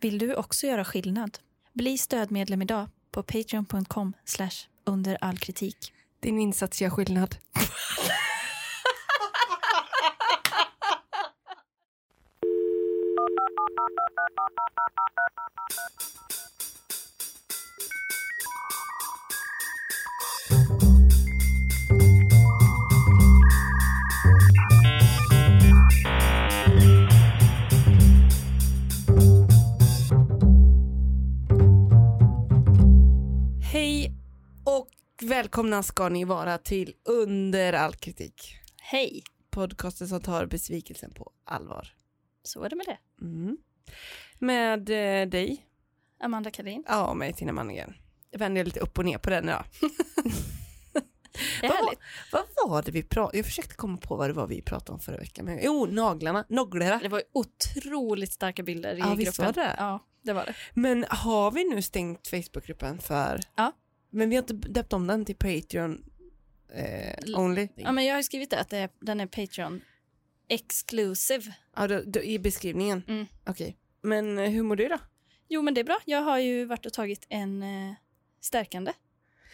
Vill du också göra skillnad? Bli stödmedlem idag på patreon.com under all kritik. Din insats gör skillnad. Hej och välkomna ska ni vara till Under all kritik. Hej! Podcasten som tar besvikelsen på allvar. Så är det med det. Mm. Med eh, dig, Amanda Kalin. ja och mig Tina Manningen. Jag vänder lite upp och ner på den idag. Det är Vad var- härligt. Vad var det vi pratade Jag försökte komma på vad det var vi pratade om förra veckan. Men, jo, naglarna. Noglerna. Det var ju otroligt starka bilder i Ja, gruppen. visst var det? Ja, det var det. Men har vi nu stängt Facebookgruppen för... Ja. Men vi har inte döpt om den till Patreon eh, only. Ja, men jag har ju skrivit det, att det är, den är Patreon exclusive. Ja, då, då, I beskrivningen? Mm. Okej. Men eh, hur mår du då? Jo, men det är bra. Jag har ju varit och tagit en eh, stärkande.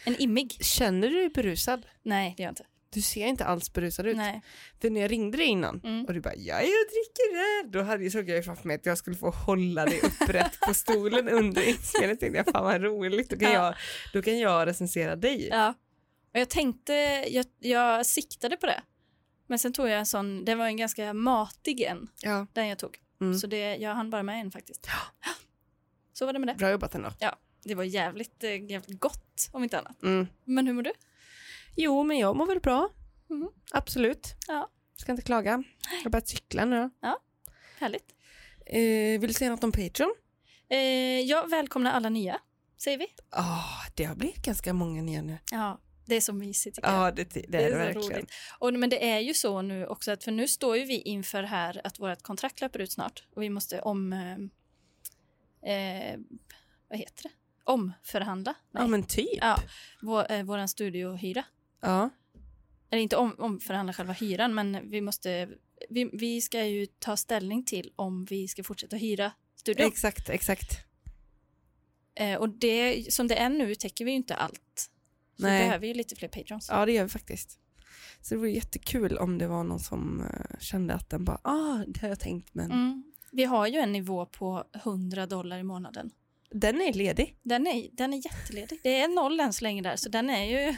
En immig. Känner du dig berusad? Nej, det gör jag inte. Du ser inte alls berusad ut. Nej. För när jag ringde dig innan Mm. och du bara ja, jag dricker det. Då hade jag såg jag ju framför mig att jag skulle få hålla dig upprätt på stolen under inspelet. Tänkte jag fan vad roligt. Då kan, Ja. jag, då kan jag recensera dig. Ja. Och jag tänkte, jag, jag siktade på det. Men sen tog jag en sån, det var en ganska matig en, Ja. den jag tog. Mm. Så det, jag hann bara med en faktiskt. Så var det med det. Bra jobbat ändå. Det var jävligt, eh, jävligt gott om inte annat. Mm. Men hur mår du? Jo, men jag mår väl bra. Mm. Absolut. Ja. Ska inte klaga. Jag har börjat cykla nu. Härligt. Eh, vill du säga något om Patreon? Eh, jag välkomnar alla nya, säger vi. Ja, det har blivit ganska många nya nu. Ja, det är så mysigt tycker jag. Ja, det, det, är det verkligen. Och, men det är ju så nu också, att, för nu står ju vi inför här att vårt kontrakt löper ut snart och vi måste om... Eh, eh, vad heter det? Omförhandla? Nej. Ja, men typ. Ja. Vår, eh, våran studiohyra. Ja. Eller inte om, omförhandla själva hyran, men vi måste... Vi, vi ska ju ta ställning till om vi ska fortsätta hyra studion. Exakt, exakt. Eh, och det, som det är nu täcker vi ju inte allt. Så Nej. vi behöver ju lite fler patrons. Ja, det gör vi faktiskt. Så det vore jättekul om det var någon som eh, kände att den bara, ah, det har jag tänkt, men Mm. Vi har ju en nivå på 100 dollar i månaden. den är ledig. Den är, den är jätteledig. Det är noll än så länge där, så den är ju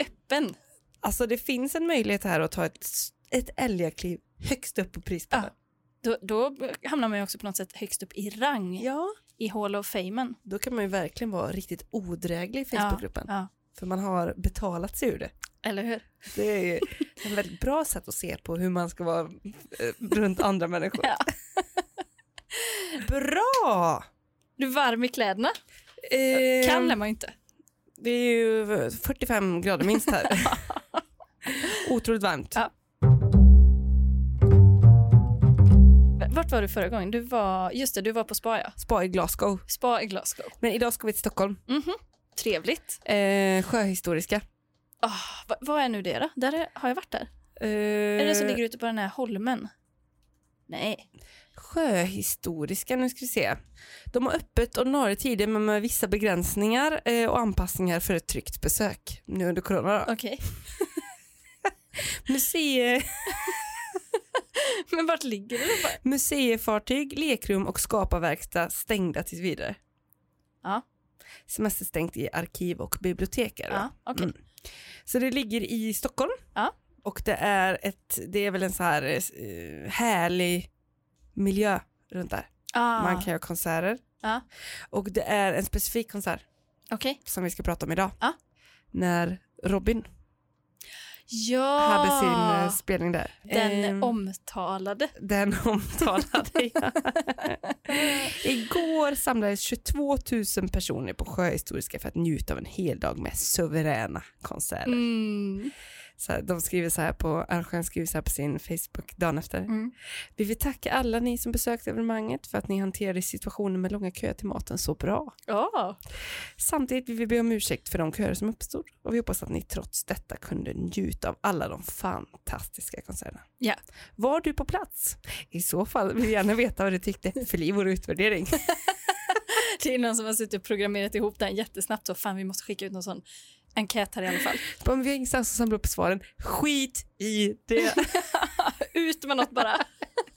öppen. Alltså det finns en möjlighet här att ta ett, ett älgakliv högst upp på prispallen. Då, då hamnar man ju också på något sätt högst upp i rang Ja, i Hall of Famen. då kan man ju verkligen vara riktigt odräglig i Facebookgruppen. Ja, För man har betalat sig ur det. eller hur? Det är ju ett väldigt bra sätt att se på hur man ska vara eh, runt andra människor. Ja. Bra! Du är varm i kläderna. Eh, Kan är man ju inte. Det är ju 45 grader minst här. Otroligt varmt. Ja. Vart var du förra gången? Du var, just det, du var på spa, ja. Spa i Glasgow. Spa i Glasgow. Men idag ska vi till Stockholm. Mhm. Trevligt. Eh, sjöhistoriska. Ah, va- vad är nu det då? Där är, har jag varit där? Eh, Är det det som ligger ute på den här holmen? Nej. Eh, Sjöhistoriska, nu ska vi se. De har öppet ordinarie tider men med vissa begränsningar eh, och anpassningar för ett tryggt besök. Nu under corona då. Okej. Museer, Men vart ligger det? då? museifartyg, lekrum och skaparverkstad stängda tills vidare. Ja. Semesterstängt i arkiv och bibliotek. är det. Ja, okej. Mm. Så det ligger i Stockholm. Ja. Och det är, ett, det är väl en så här eh, härlig miljö runt där. Ah, Man kan göra konserter. Ja. Och det är en specifik konsert Okej. som vi ska prata om idag. Ja. När Robin Ja! hade sin eh, spelning där. den Ehm, omtalade. den omtalade jag. Igår samlades 22 000 personer på Sjöhistoriska för att njuta av en hel dag med suveräna konserter. Mm. Så här, de skriver så här på, arrangören skriver så här på sin Facebook dagen efter. Mm. Vi vill tacka alla ni som besökte evenemanget för att ni hanterade situationen med långa köer till maten så bra. Ja, Samtidigt vill vi be om ursäkt för de köer som uppstod och vi hoppas att ni trots detta kunde njuta av alla de fantastiska konserterna. Ja. Var du på plats? I så fall vill vi gärna veta vad du tyckte. Fyll i vår utvärdering. det är någon som har suttit och programmerat ihop den jättesnabbt så fan vi måste skicka ut någon sån enkät här i alla fall. Om vi har ingenstans att samla upp svaren, skit i det. Ut med något bara.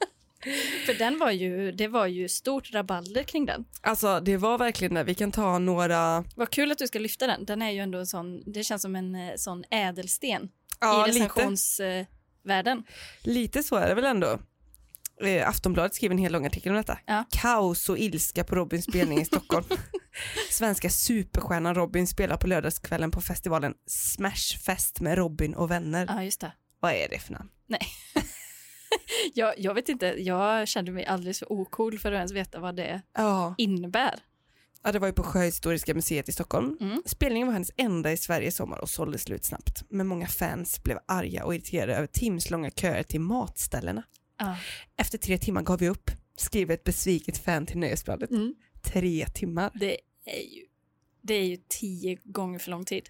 För den var ju, det var ju stort rabalder kring den. Alltså det var verkligen det. Vi kan ta några... Vad kul att du ska lyfta den. Den är ju ändå en sån, det känns som en eh, sån ädelsten Ja, i lite, recensionsvärlden. lite så är det väl ändå. Eh, Aftonbladet skrev en hel lång artikel om detta. Ja. Kaos och ilska på Robins spelning i Stockholm. Svenska superstjärnan Robin spelar på lördagskvällen på festivalen Smashfest med Robin och vänner. Ja, just det. Vad är det för namn? Jag, jag vet inte, jag kände mig alldeles för ocool för att ens veta vad det Ja. innebär. ja, det var ju på Sjöhistoriska museet i Stockholm. Mm. Spelningen var hennes enda i Sverige i sommar och sålde slut snabbt. Men många fans blev arga och irriterade över timslånga köer till matställena. Ja. Efter tre timmar gav vi upp, skriver ett besviket fan till Nöjesbladet. Mm. Tre timmar. Det, är ju, det är ju tio gånger för lång tid.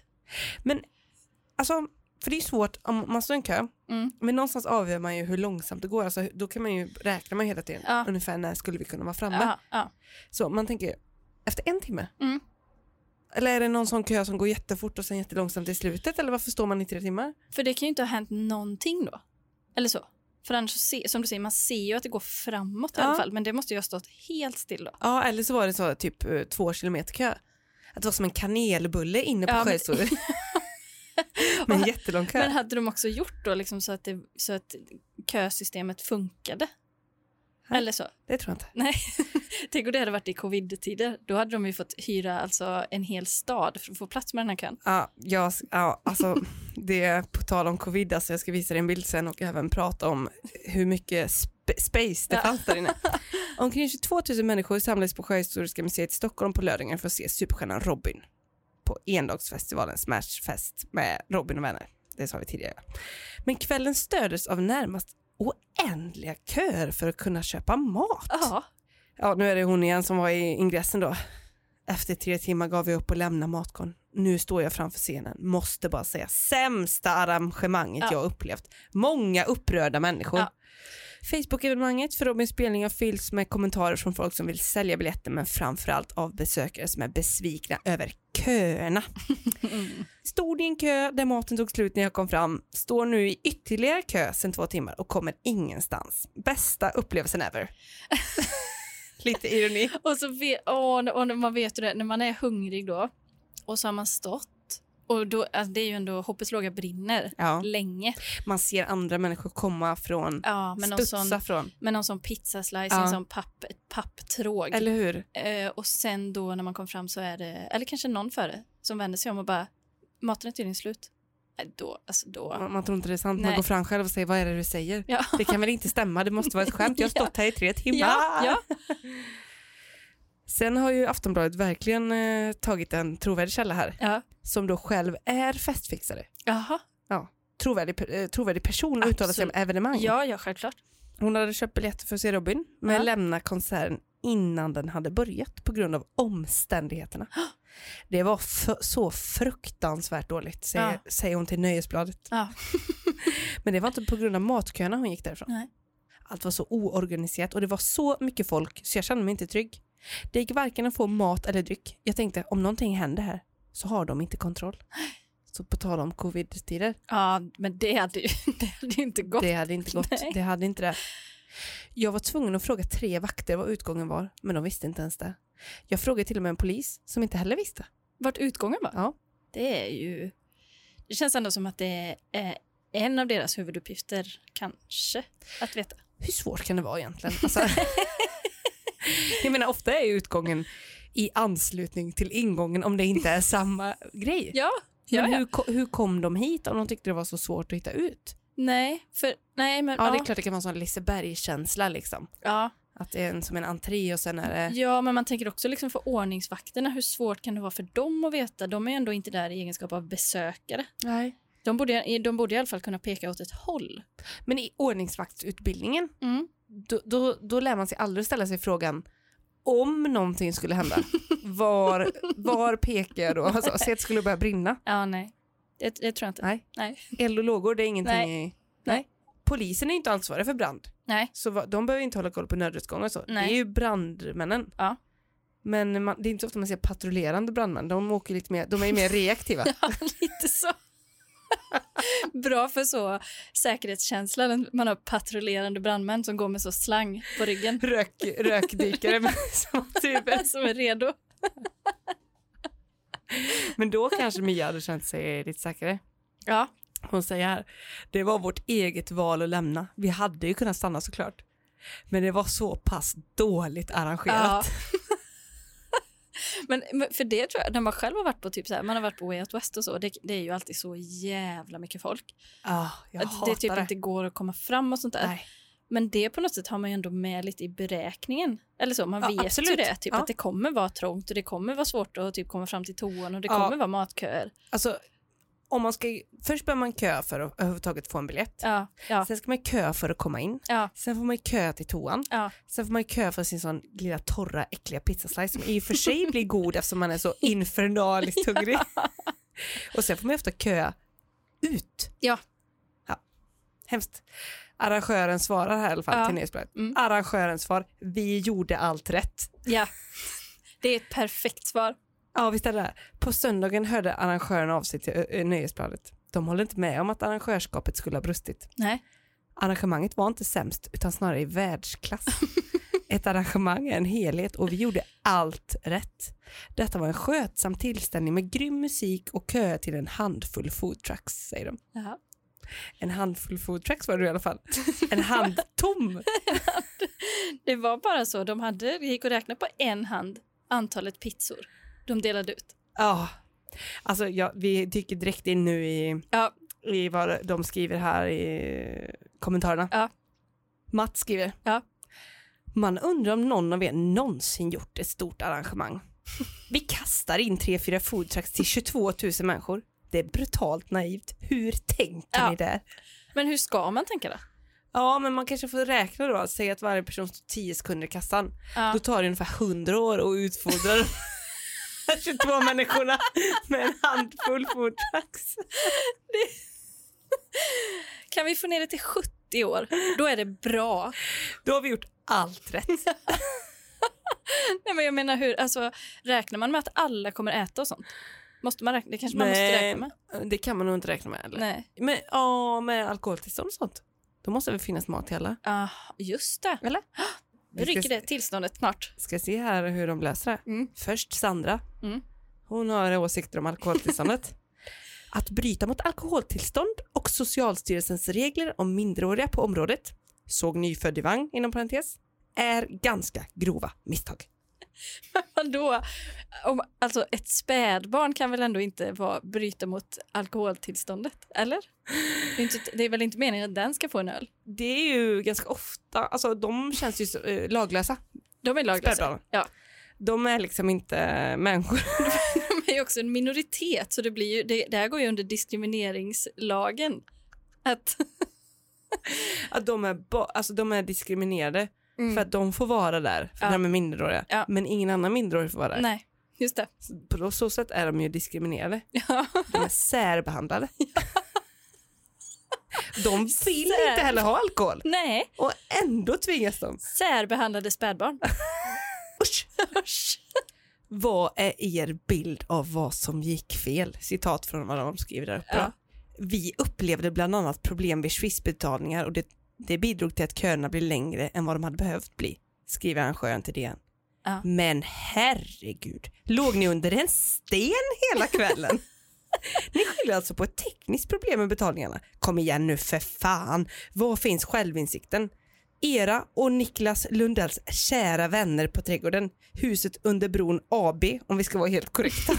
Alltså, för det är ju svårt om man står i en kö, Mm. men någonstans avgör man ju hur långsamt det går. Alltså, då kan man ju räkna man hela tiden. Ja. Ungefär när skulle vi kunna vara framme? Ja, ja. Så man tänker, efter en timme? Mm. Eller är det någon sån kö som går jättefort och sen jättelångsamt i slutet? Eller varför står man i tre timmar? För det kan ju inte ha hänt någonting då. Eller så. För annars, så se, som du säger, man ser ju att det går framåt i Ja. alla fall. Men det måste ju ha stått helt still då. Ja, eller så var det så typ eh, två kilometer kö. Att det var som en kanelbulle inne på Ja, men- Sjöhistorien. Men en jättelång kö. Men hade de också gjort då liksom så, att det, så att kösystemet funkade? Nej. Eller så. Det tror jag inte. Tänk om det hade varit i covid-tider. Då hade de ju fått hyra alltså en hel stad för att få plats med den här kön. Ja, jag, ja, alltså, det är på tal om covid, alltså, jag ska visa dig en bild sen och även prata om hur mycket sp- space det Ja. fanns där inne. Omkring 22 000 människor samlades på Sjöhistoriska museet i Stockholm på lördagen för att se superstjärnan Robin på endagsfestivalen Smashfest med Robin och vänner. Det sa vi tidigare. Men kvällen stördes av närmast oändliga köer för att kunna köpa mat. Ja, Ja, nu är det hon igen som var i ingressen då. Efter tre timmar gav jag upp och lämnade matkorn. Nu står jag framför scenen. Måste bara säga sämsta arrangemanget Ja. jag upplevt. Många upprörda människor. Ja. Facebook-evenemanget för Robins spelning har fyllts med kommentarer från folk som vill sälja biljetter men framförallt av besökare som är besvikna över köerna. Stod i en kö där maten tog slut när jag kom fram. Står nu i ytterligare kö sedan två timmar och kommer ingenstans. Bästa upplevelsen ever. Lite ironi. och så vet, åh, och när man vet ju det, när man är hungrig då och så har man stått och då, alltså det är ju ändå hoppets låga brinner Ja. länge. Man ser andra människor komma från, Ja, men någon studsa sån, från. men någon sån pizzaslice, Ja. en sån papp, ett papptråg. Eller hur? Eh, och sen då när man kom fram så är det, eller kanske någon före som vänder sig om och bara, maten är tydligen slut. Nej, då, alltså då. Man, man tror inte det är sant. Man Nej. går fram själv och säger vad är det du säger? Ja. Det kan väl inte stämma? Det måste vara ett skämt. Jag har stått här i tre timmar. Ja, ja. Sen har ju Aftonbladet verkligen eh, tagit en trovärdig källa här ja. som då själv är festfixare. Jaha, Trovärdig, pe- eh, trovärdig person och uttalar sig om evenemang. ja, ja, självklart. Hon hade köpt biljetter för att se Robin, men Ja. lämnade konserten innan den hade börjat på grund av omständigheterna. Det var f- så fruktansvärt dåligt, säger, Ja. säger hon till Nöjesbladet. Ja. men det var inte på grund av matköerna hon gick därifrån. Nej. Allt var så oorganiserat och det var så mycket folk så jag kände mig inte trygg. Det gick varken att få mat eller dryck. Jag tänkte om någonting händer här så har de inte kontroll. Så på tal om covid-tider, Ja, men det hade ju det hade ju inte gått. det hade inte gått. Nej. Det hade inte det. Jag var tvungen att fråga tre vakter vad utgången var, men de visste inte ens det. Jag frågade till och med en polis som inte heller visste. Vart utgången var? Ja. Det är ju... Det känns ändå som att det är en av deras huvuduppgifter, kanske, att veta. Hur svårt kan det vara egentligen? Alltså, jag menar, ofta är ju utgången i anslutning till ingången om det inte är samma grej. Ja, men ja, ja. Hur, ko- hur kom de hit om de tyckte det var så svårt att hitta ut? Nej, för... Nej, men... Ja, det är klart det kan vara en sån Liseberg-känsla liksom. ja. Att det är en, som en entré och sen är det... Ja, men man tänker också liksom för ordningsvakterna, hur svårt kan det vara för dem att veta? De är ju ändå inte där i egenskap av besökare. Nej. De borde, de borde i alla fall kunna peka åt ett håll. Men i ordningsvaktsutbildningen, Mm. då, då, då lär man sig aldrig ställa sig frågan om någonting skulle hända. Var, var pekar jag då? Alltså, säg att det skulle börja brinna. Ja, nej. Det, det tror jag inte. Nej. Nej. Eld och lågor, det är ingenting. Nej. i- Nej. Polisen är inte ansvarig för brand. Nej. Så va- de behöver inte hålla koll på nödutgångar och så. Nej. Det är ju brandmännen. Ja. Men man, det är inte så ofta man ser patrullerande brandmän. De, åker lite mer, de är ju mer reaktiva. Ja, lite så. Bra för så säkerhetskänslan. Man har patrullerande brandmän som går med så slang på ryggen. Rök, rökdykare. men som typ. Som är redo. Men då kanske Mia hade känt sig lite säkrare. Ja. Hon säger här, det var vårt eget val att lämna. Vi hade ju kunnat stanna såklart. Men det var så pass dåligt arrangerat. men, men för det tror jag, när man själv har varit på typ så här, man har varit på Way Out West och så, det, det är ju alltid så jävla mycket folk. Ah, jag Att det hatar typ det. inte går att komma fram och sånt där. Nej. Men det på något sätt har man ju ändå med lite i beräkningen. Eller så, man Ja, vet ju absolut. det, typ Ja. att det kommer vara trångt och det kommer vara svårt att typ komma fram till toan och det Ja. kommer vara matköer. Alltså, om man ska, först behöver man kö för att överhuvudtaget få en biljett. Ja, ja, Sen ska man kö för att komma in. ja, Sen får man kö till toan. ja. Sen får man kö för sin sån lilla torra äckliga pizzaslice som i och för sig blir god eftersom man är så infernaliskt hungrig. Och sen får man ofta kö ut. Ja. ja. Hemskt. Arrangören svarar här i alla fall Ja. till nyhetsbrevet. Mm. Arrangören svar, vi gjorde allt rätt. Ja, det är ett perfekt svar. Ja, visst är det där. På söndagen hörde arrangören av sig till ö, ö, Nöjesbladet. De håller inte med om att arrangörskapet skulle ha brustit. Nej. Arrangemanget var inte sämst utan snarare i världsklass. Ett arrangemang är en helhet och vi gjorde allt rätt. Detta var en skötsam tillställning med grym musik och köer till en handfull foodtrucks, säger de. Ja. En handfull foodtrucks var det i alla fall. En hand tom. Det var bara så, de hade, det gick att räkna på en hand antalet pizzor de delade ut. Ja. Alltså, ja, vi dyker direkt in nu i Ja, i vad de skriver här i kommentarerna. Ja. Matt skriver. Ja. Man undrar om någon av er någonsin gjort ett stort arrangemang. Vi kastar in 3-4 foodtrucks till 22 000 människor. Det är brutalt naivt. Hur tänker Ja. ni där? men hur ska man tänka då? Ja, men man kanske får räkna då. Säg att varje person står 10 sekunder i kassan. Ja. Då tar det ungefär 100 år att utfodra de 22 människorna med en handfull foodtrucks. Kan vi få ner det till 70 år? Då är det bra. Då har vi gjort allt rätt. Nej, men jag menar hur, alltså, räknar man med att alla kommer äta och sånt? Måste man räkna? Det kanske man måste Nej. räkna med? Det kan man nog inte räkna med. Eller? Nej. Men ja, med alkoholtillstånd och sånt. Då måste det väl finnas mat till alla. Ah, just det. Eller? Nu rycker det tillståndet snart. Ska se här hur de löser det. Mm. Först Sandra. Mm. Hon har åsikter om alkoholtillståndet. Att bryta mot alkoholtillstånd och Socialstyrelsens regler om minderåriga på området, såg nyfödd i vagn inom parentes, är ganska grova misstag. Vadå? Om, alltså, ett spädbarn kan väl ändå inte vara, bryta mot alkoholtillståndet? Eller? Det är, inte, det är väl inte meningen att den ska få en öl? Det är ju ganska ofta, alltså de känns ju så, eh, laglösa, De är laglösa. spädbarnen. Ja. De är liksom inte människor. De är ju också en minoritet, så det, blir ju, det, det här går ju under diskrimineringslagen. Att, Att de är, ba- alltså, de är diskriminerade Mm. för att de får vara där för Ja. de är minderåriga. Ja. Men ingen annan minderårig får vara där. nej, just det. Så På då- så sätt är de ju diskriminerade. Ja. De är särbehandlade. De vill Sär- inte heller ha alkohol Nej, och ändå tvingas de. särbehandlade spädbarn. Usch. Vad är er bild av vad som gick fel? Citat från vad de skriver där uppe. Ja. Vi upplevde bland annat problem vid swissbetalningar och det, det bidrog till att köerna blev längre än vad de hade behövt bli, skriver arrangören till DN. Ja. Men herregud, låg ni under en sten hela kvällen? Ni skyller alltså på ett tekniskt problem med betalningarna. Kom igen nu för fan, var finns självinsikten? Era och Niklas Lundells kära vänner på Trädgården, huset under bron AB om vi ska vara helt korrekta,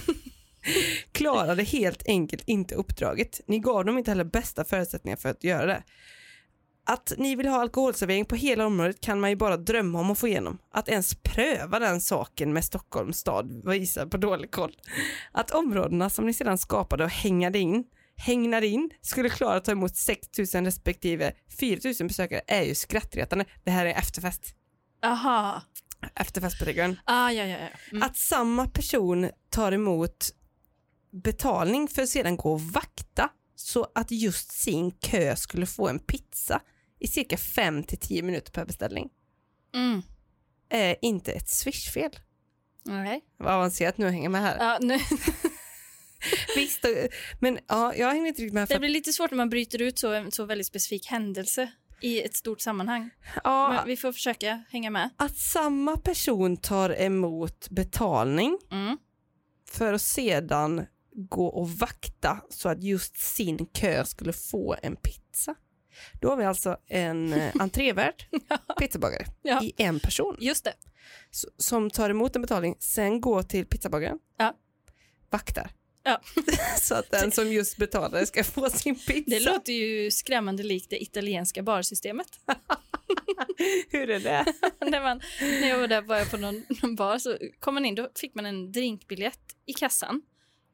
klarade helt enkelt inte uppdraget. Ni gav dem inte heller bästa förutsättningar för att göra det. Att ni vill ha alkoholservering på hela området kan man ju bara drömma om att få igenom. Att ens pröva den saken med Stockholms stad visar på dålig koll. Att områdena som ni sedan skapade och hängade in hängnar in skulle klara att ta emot 6 000 respektive 4 000 besökare är ju skrattretande. Det här är efterfest. Aha. Efterfest på Riggön. Ah, ja, ja, ja. Mm. Att samma person tar emot betalning för att sedan gå och vakta så att just sin kö skulle få en pizza i cirka 5 till 10 minuter per beställning Mm. är inte ett swishfel. Okej. Vad avancerat nu hänger med här. Ja, nu, Visst, eh, men ja, jag hänger inte riktigt med. För, det blir lite svårt när man bryter ut så, en så väldigt specifik händelse i ett stort sammanhang. ja, Men vi får försöka hänga med. att samma person tar emot betalning Mm. för att sedan gå och vakta så att just sin kö skulle få en pizza. Då har vi alltså en eh, entrévärd, pizzabagare, Ja. i en person Just det. s- som tar emot en betalning, sen går till pizzabagaren, Ja. vaktar. Ja. så att den som just betalade ska få sin pizza. Det låter ju skrämmande likt det italienska barsystemet. Hur är det? när, man, när jag var där var jag på någon, någon bar så kom man in, då fick man en drinkbiljett i kassan.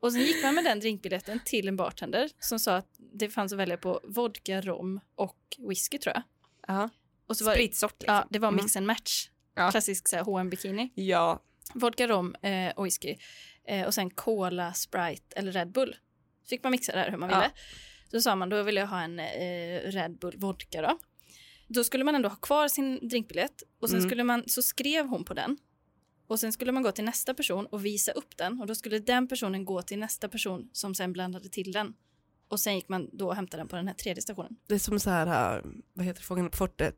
Och sen gick man med den drinkbiljetten till en bartender som sa att det fanns att välja på vodka, rom och whisky tror jag. Ja. Och så var, Spritsort liksom. ja, det var Mm. mix and match. Ja. Klassisk så här, H&M bikini. Ja. Vodka, rom eh, och whisky. Eh, och sen cola, sprite eller Red Bull. Fick man mixa det här hur man Ja. ville. Så sa man då vill jag ha en eh, Red Bull vodka då. Då skulle man ändå ha kvar sin drinkbiljett och sen Mm. skulle man, så skrev hon på den. Och sen skulle man gå till nästa person och visa upp den och då skulle den personen gå till nästa person som sen blandade till den. Och sen gick man då och hämtade den på den här tredje stationen. Det är som så här, eh, vad heter det, Fångarna på fortet?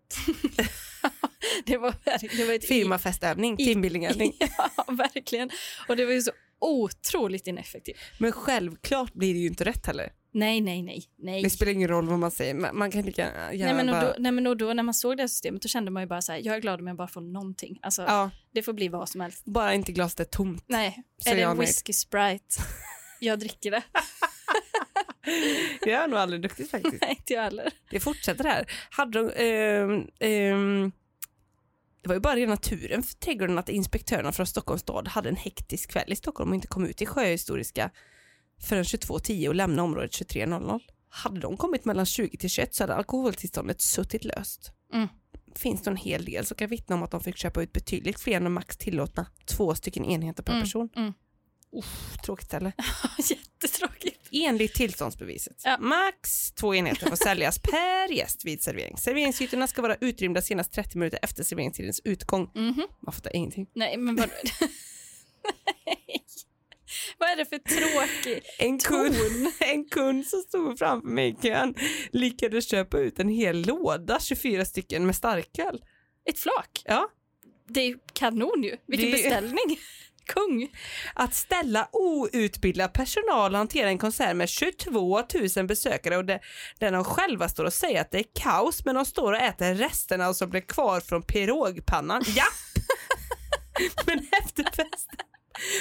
Det var, verk- det var ett Firmafestövning, I- teambuildingövning. Ja, verkligen. Och det var ju så otroligt ineffektivt. Men självklart blir det ju inte rätt heller. Nej, nej, nej, nej. Det spelar ingen roll vad man säger, man man kan lika Nej gärna men, och bara... då, nej men och då när man såg det här systemet då kände man ju bara så här, jag är glad om jag bara får någonting. Alltså Ja, det får bli vad som helst. bara inte glaset är tomt. Nej, Så är det jag en är nöjd. whisky sprite? Jag dricker det. Det är nog aldrig duktigt faktiskt. Nej, inte jag heller. Det fortsätter här. Hade de, ehm, ehm, det var ju bara rena turen för trädgården att inspektörerna från Stockholms stad hade en hektisk kväll i Stockholm och inte kom ut i Sjöhistoriska förrän 22.10 och lämnade området 23.00. Hade de kommit mellan 20 till 21 så hade alkoholtillståndet suttit löst. Mm. Finns det en hel del som kan vittna om att de fick köpa ut betydligt fler än de max tillåtna två stycken enheter per Mm, person. mm. Uff, tråkigt ställe. Jättetråkigt. Enligt tillståndsbeviset. Ja. Max två enheter får säljas per gäst vid servering. Serveringsytorna ska vara utrymda senast 30 minuter efter serveringstidens utgång. Mhm. Man fattar ingenting. Nej, men vad... Nej. Vad är det för tråkig En kund, ton? en kund som stod framför mig i kön lyckades köpa ut en hel låda, 24 stycken med starköl. Ett flak? Ja. Det är ju kanon ju. Vilken Det- beställning. Kung. Att ställa outbildad personal och hantera en konsert med 22 000 besökare och det, där de själva står och säger att det är kaos men de står och äter resterna och som blir kvar från pirogpannan. Ja! men efterfesten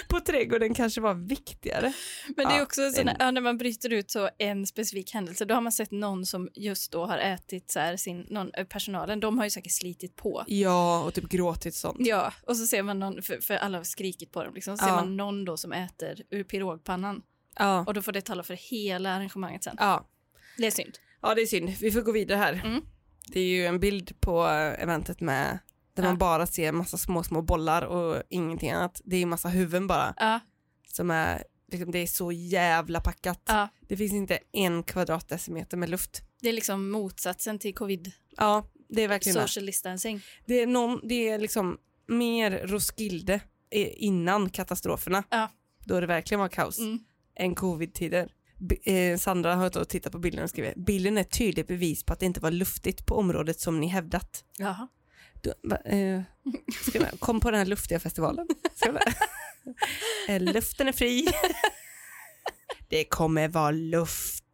på trädgården kanske var viktigare. Men det är Ja, också en sån en- här, ja, när man bryter ut så en specifik händelse, då har man sett någon som just då har ätit så här sin, någon, eh, personalen, de har ju säkert slitit på. Ja, och typ gråtit sånt. Ja, och så ser man någon, för, för alla har skrikit på dem, liksom, så ser Ja. man någon då som äter ur pirogpannan Ja. och då får det tala för hela arrangemanget sen. ja. Det är synd. Ja, det är synd. Vi får gå vidare här. Mm. Det är ju en bild på eh, eventet med där Ja. man bara ser massa små, små bollar och ingenting annat. Det är ju massa huvuden bara. Ja, som är, liksom, det är så jävla packat. ja. Det finns inte en kvadratdecimeter med luft. Det är liksom motsatsen till covid, Ja, det är verkligen det. social distancing. Det är, någon, det är liksom mer Roskilde eh, innan katastroferna. Ja. Då det verkligen var kaos. Mm. Än covid-tider. B- eh, Sandra har då tittat på bilden och skrivit bilden är ett tydligt bevis på att det inte var luftigt på området som ni hävdat. Jaha. Då, va, eh, ska jag, kom på den här luftiga festivalen. Ska jag, eh, luften är fri. Det kommer vara luftigt.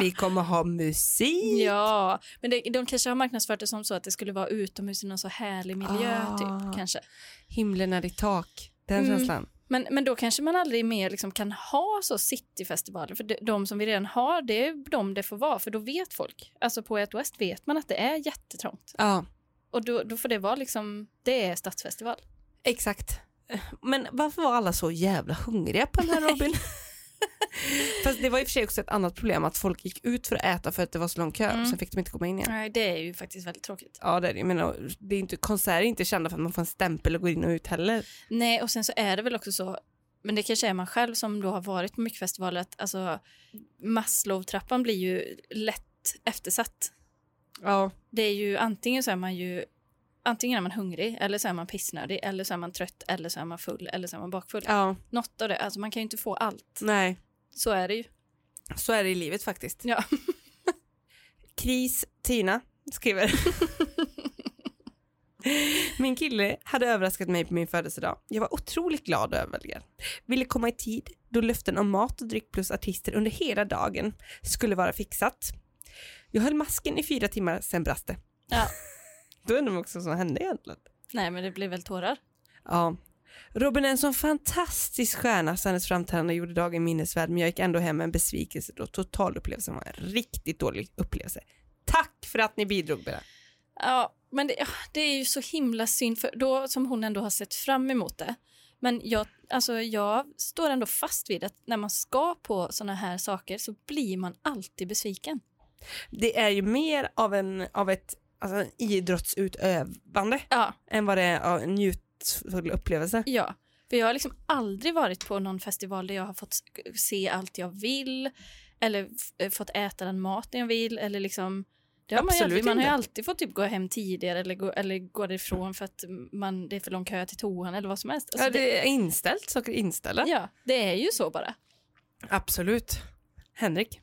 Vi kommer ha musik. Ja, men det, de kanske har marknadsfört det som så att det skulle vara utomhus i någon så härlig miljö Ah. typ, kanske. Himlen är i tak. Den Mm. känslan. Men, men då kanske man aldrig mer liksom kan ha så cityfestivaler. För de, de som vi redan har, det är de det får vara. För då vet folk. Alltså på ett West vet man att det är jättetrångt. Ja, Och då, då får det vara liksom, det är stadsfestival. exakt. Men varför var alla så jävla hungriga på den här Robin? Fast det var i och för sig också ett annat problem att folk gick ut för att äta för att det var så lång kö Mm. och sen fick de inte komma in igen. Nej, det är ju faktiskt väldigt tråkigt. Ja, det är, det. jag menar, det är inte, konserter är inte kända för att man får en stämpel och går in och ut heller. Nej, och sen så är det väl också så, men det kanske är man själv som då har varit på mycket festivaler, att alltså, Maslowtrappan blir ju lätt eftersatt. Ja. Det är ju antingen så är man ju Antingen är man hungrig, eller så är man pissnödig, eller så är man trött, eller så är man full, eller så är man bakfull. ja. Något av det. Alltså man kan ju inte få allt. Nej, Så är det ju. så är det i livet faktiskt. Ja. Kris Tina skriver. Min kille hade överraskat mig på min födelsedag. Jag var otroligt glad och överväldigad. Ville komma i tid då löften om mat och dryck plus artister under hela dagen skulle vara fixat. Jag höll masken i fyra timmar, sen brast det. Ja. då undrar man också vad som hände egentligen. Nej, men det blir väl tårar. Ja. Robin är en sån fantastisk stjärna så hennes framträdande gjorde dagen minnesvärd men jag gick ändå hem med en besvikelse då totalupplevelsen var en riktigt dålig upplevelse. Tack för att ni bidrog med det. Ja, men det, ah, det är ju så himla synd, för då som hon ändå har sett fram emot det. Men jag, alltså jag står ändå fast vid att när man ska på såna här saker så blir man alltid besviken. Det är ju mer av, en, av ett alltså, en idrottsutövande Ja, än vad det är av en njutfull upplevelse. ja. För jag har liksom aldrig varit på någon festival där jag har fått se allt jag vill eller f- eh, fått äta den maten jag vill eller liksom det har man, ju Absolut alltid, man har ju inte. alltid fått typ gå hem tidigare eller gå, eller gå därifrån för att man, det är för lång kö till toan eller vad som helst. Alltså ja, det är inställt, saker är inställda. det, ja, det är ju så bara. Absolut. Henrik,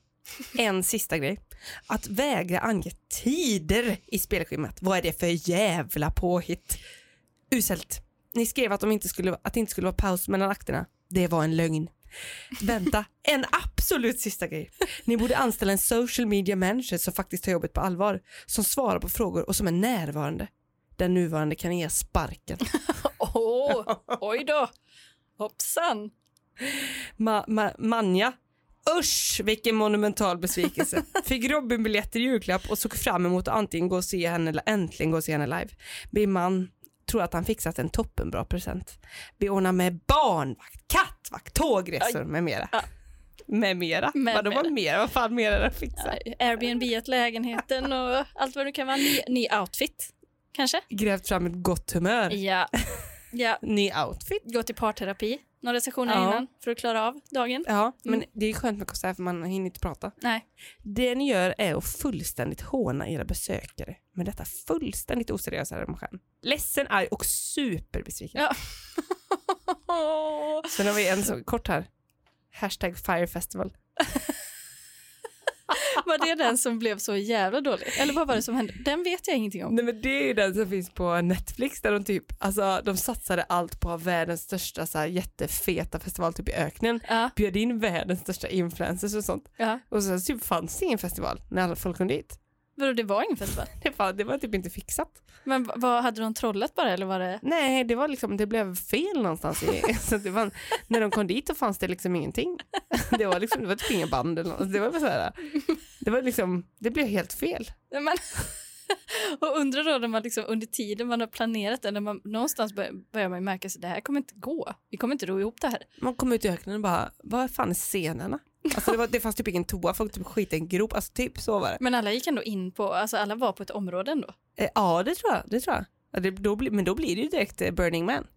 en sista grej. Att vägra ange tider i spelschemat, vad är det för jävla påhitt? Uselt. Ni skrev att, de inte skulle, att det inte skulle vara paus mellan akterna. Det var en lögn. Vänta, en absolut sista grej. Ni borde anställa en social media manager som faktiskt tar jobbet på allvar, som svarar på frågor och som är närvarande. Den nuvarande kan ge sparken. Åh, oj då. Hoppsan. Ma- ma- Manja. Usch vilken monumental besvikelse. Fick Robin-biljetter i julklapp och såg fram emot att antingen gå och se henne eller äntligen gå och se henne live. Min man tror att han fixat en toppenbra present. Vi ordnar med barnvakt, kattvakt, tågresor med mera. Ja. Med mera? Med Vadå mera. med mera? Vad fan mera är det att fixa? Airbnb att lägenheten och allt vad det kan vara. Ny, ny outfit, kanske? Grävt fram ett gott humör. Ja. ja. Ny outfit. Gå till parterapi några sessioner Ja. innan för att klara av dagen. Ja, men det är skönt med konsert för man hinner inte prata. Nej. Det ni gör är att fullständigt håna era besökare med detta fullständigt oseriösa arrangemang. Ledsen, arg och superbesviken. Ja. Sen har vi en så kort här. Hashtag firefestival. Var det den som blev så jävla dålig? Eller vad var det som hände? Den vet jag ingenting om. Nej men det är ju den som finns på Netflix där de typ, alltså de satsade allt på att ha världens största så här, jättefeta festival typ i öknen. Ja, Bjöd in världens största influencers och sånt. ja. Och sen typ fanns det ingen festival när alla folk kom dit. Vadå, det var ingen festival? Det var, det var typ inte fixat. Men v- vad, hade de trollat bara eller var det? Nej, det var liksom, det blev fel någonstans. I, så det var, när de kom dit så fanns det liksom ingenting. Det var liksom, det var typ inga band eller något. Det var bara så här, det var liksom, det blev helt fel. Nej, Men, och undrar då när man liksom, under tiden man har planerat det, när man någonstans börjar, börjar man ju märka att det här kommer inte gå. Vi kommer inte ro ihop det här. Man kom ut i öknen och bara, vad fan är scenerna? Alltså det, var, det fanns typ ingen toa, folk typ skit i en grop, alltså typ så var det. Men alla gick ändå in på, alltså alla var på ett område ändå. Eh, ja, det tror jag, det tror jag. Ja, det, då blir- men då blir det ju direkt eh, Burning Man.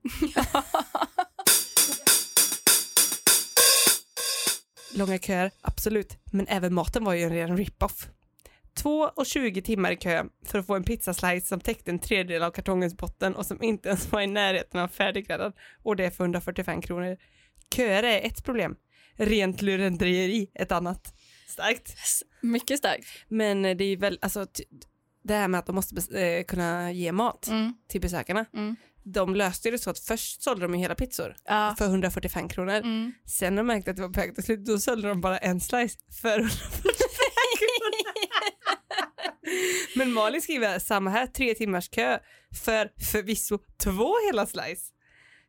Långa köer, absolut. Men även maten var ju en ren rip-off. Två och 20 timmar i kö för att få en pizzaslice som täckte en tredjedel av kartongens botten och som inte ens var i närheten av färdiggräddad. Och det för 145 kronor. Köer är ett problem. Rent lurendrejeri ett annat. Starkt. S- Mycket starkt. Men eh, det är ju väl, alltså, ty- det här med att de måste bes- eh, kunna ge mat Mm. till besökarna. Mm. De löste det så att först sålde de ju hela pizzor Ja. för 145 kronor. Mm. Sen när de märkte att det var på väg till slut, då sålde de bara en slice för 145 kronor. Men Malin skriver samma här, tre timmars kö för förvisso två hela slice.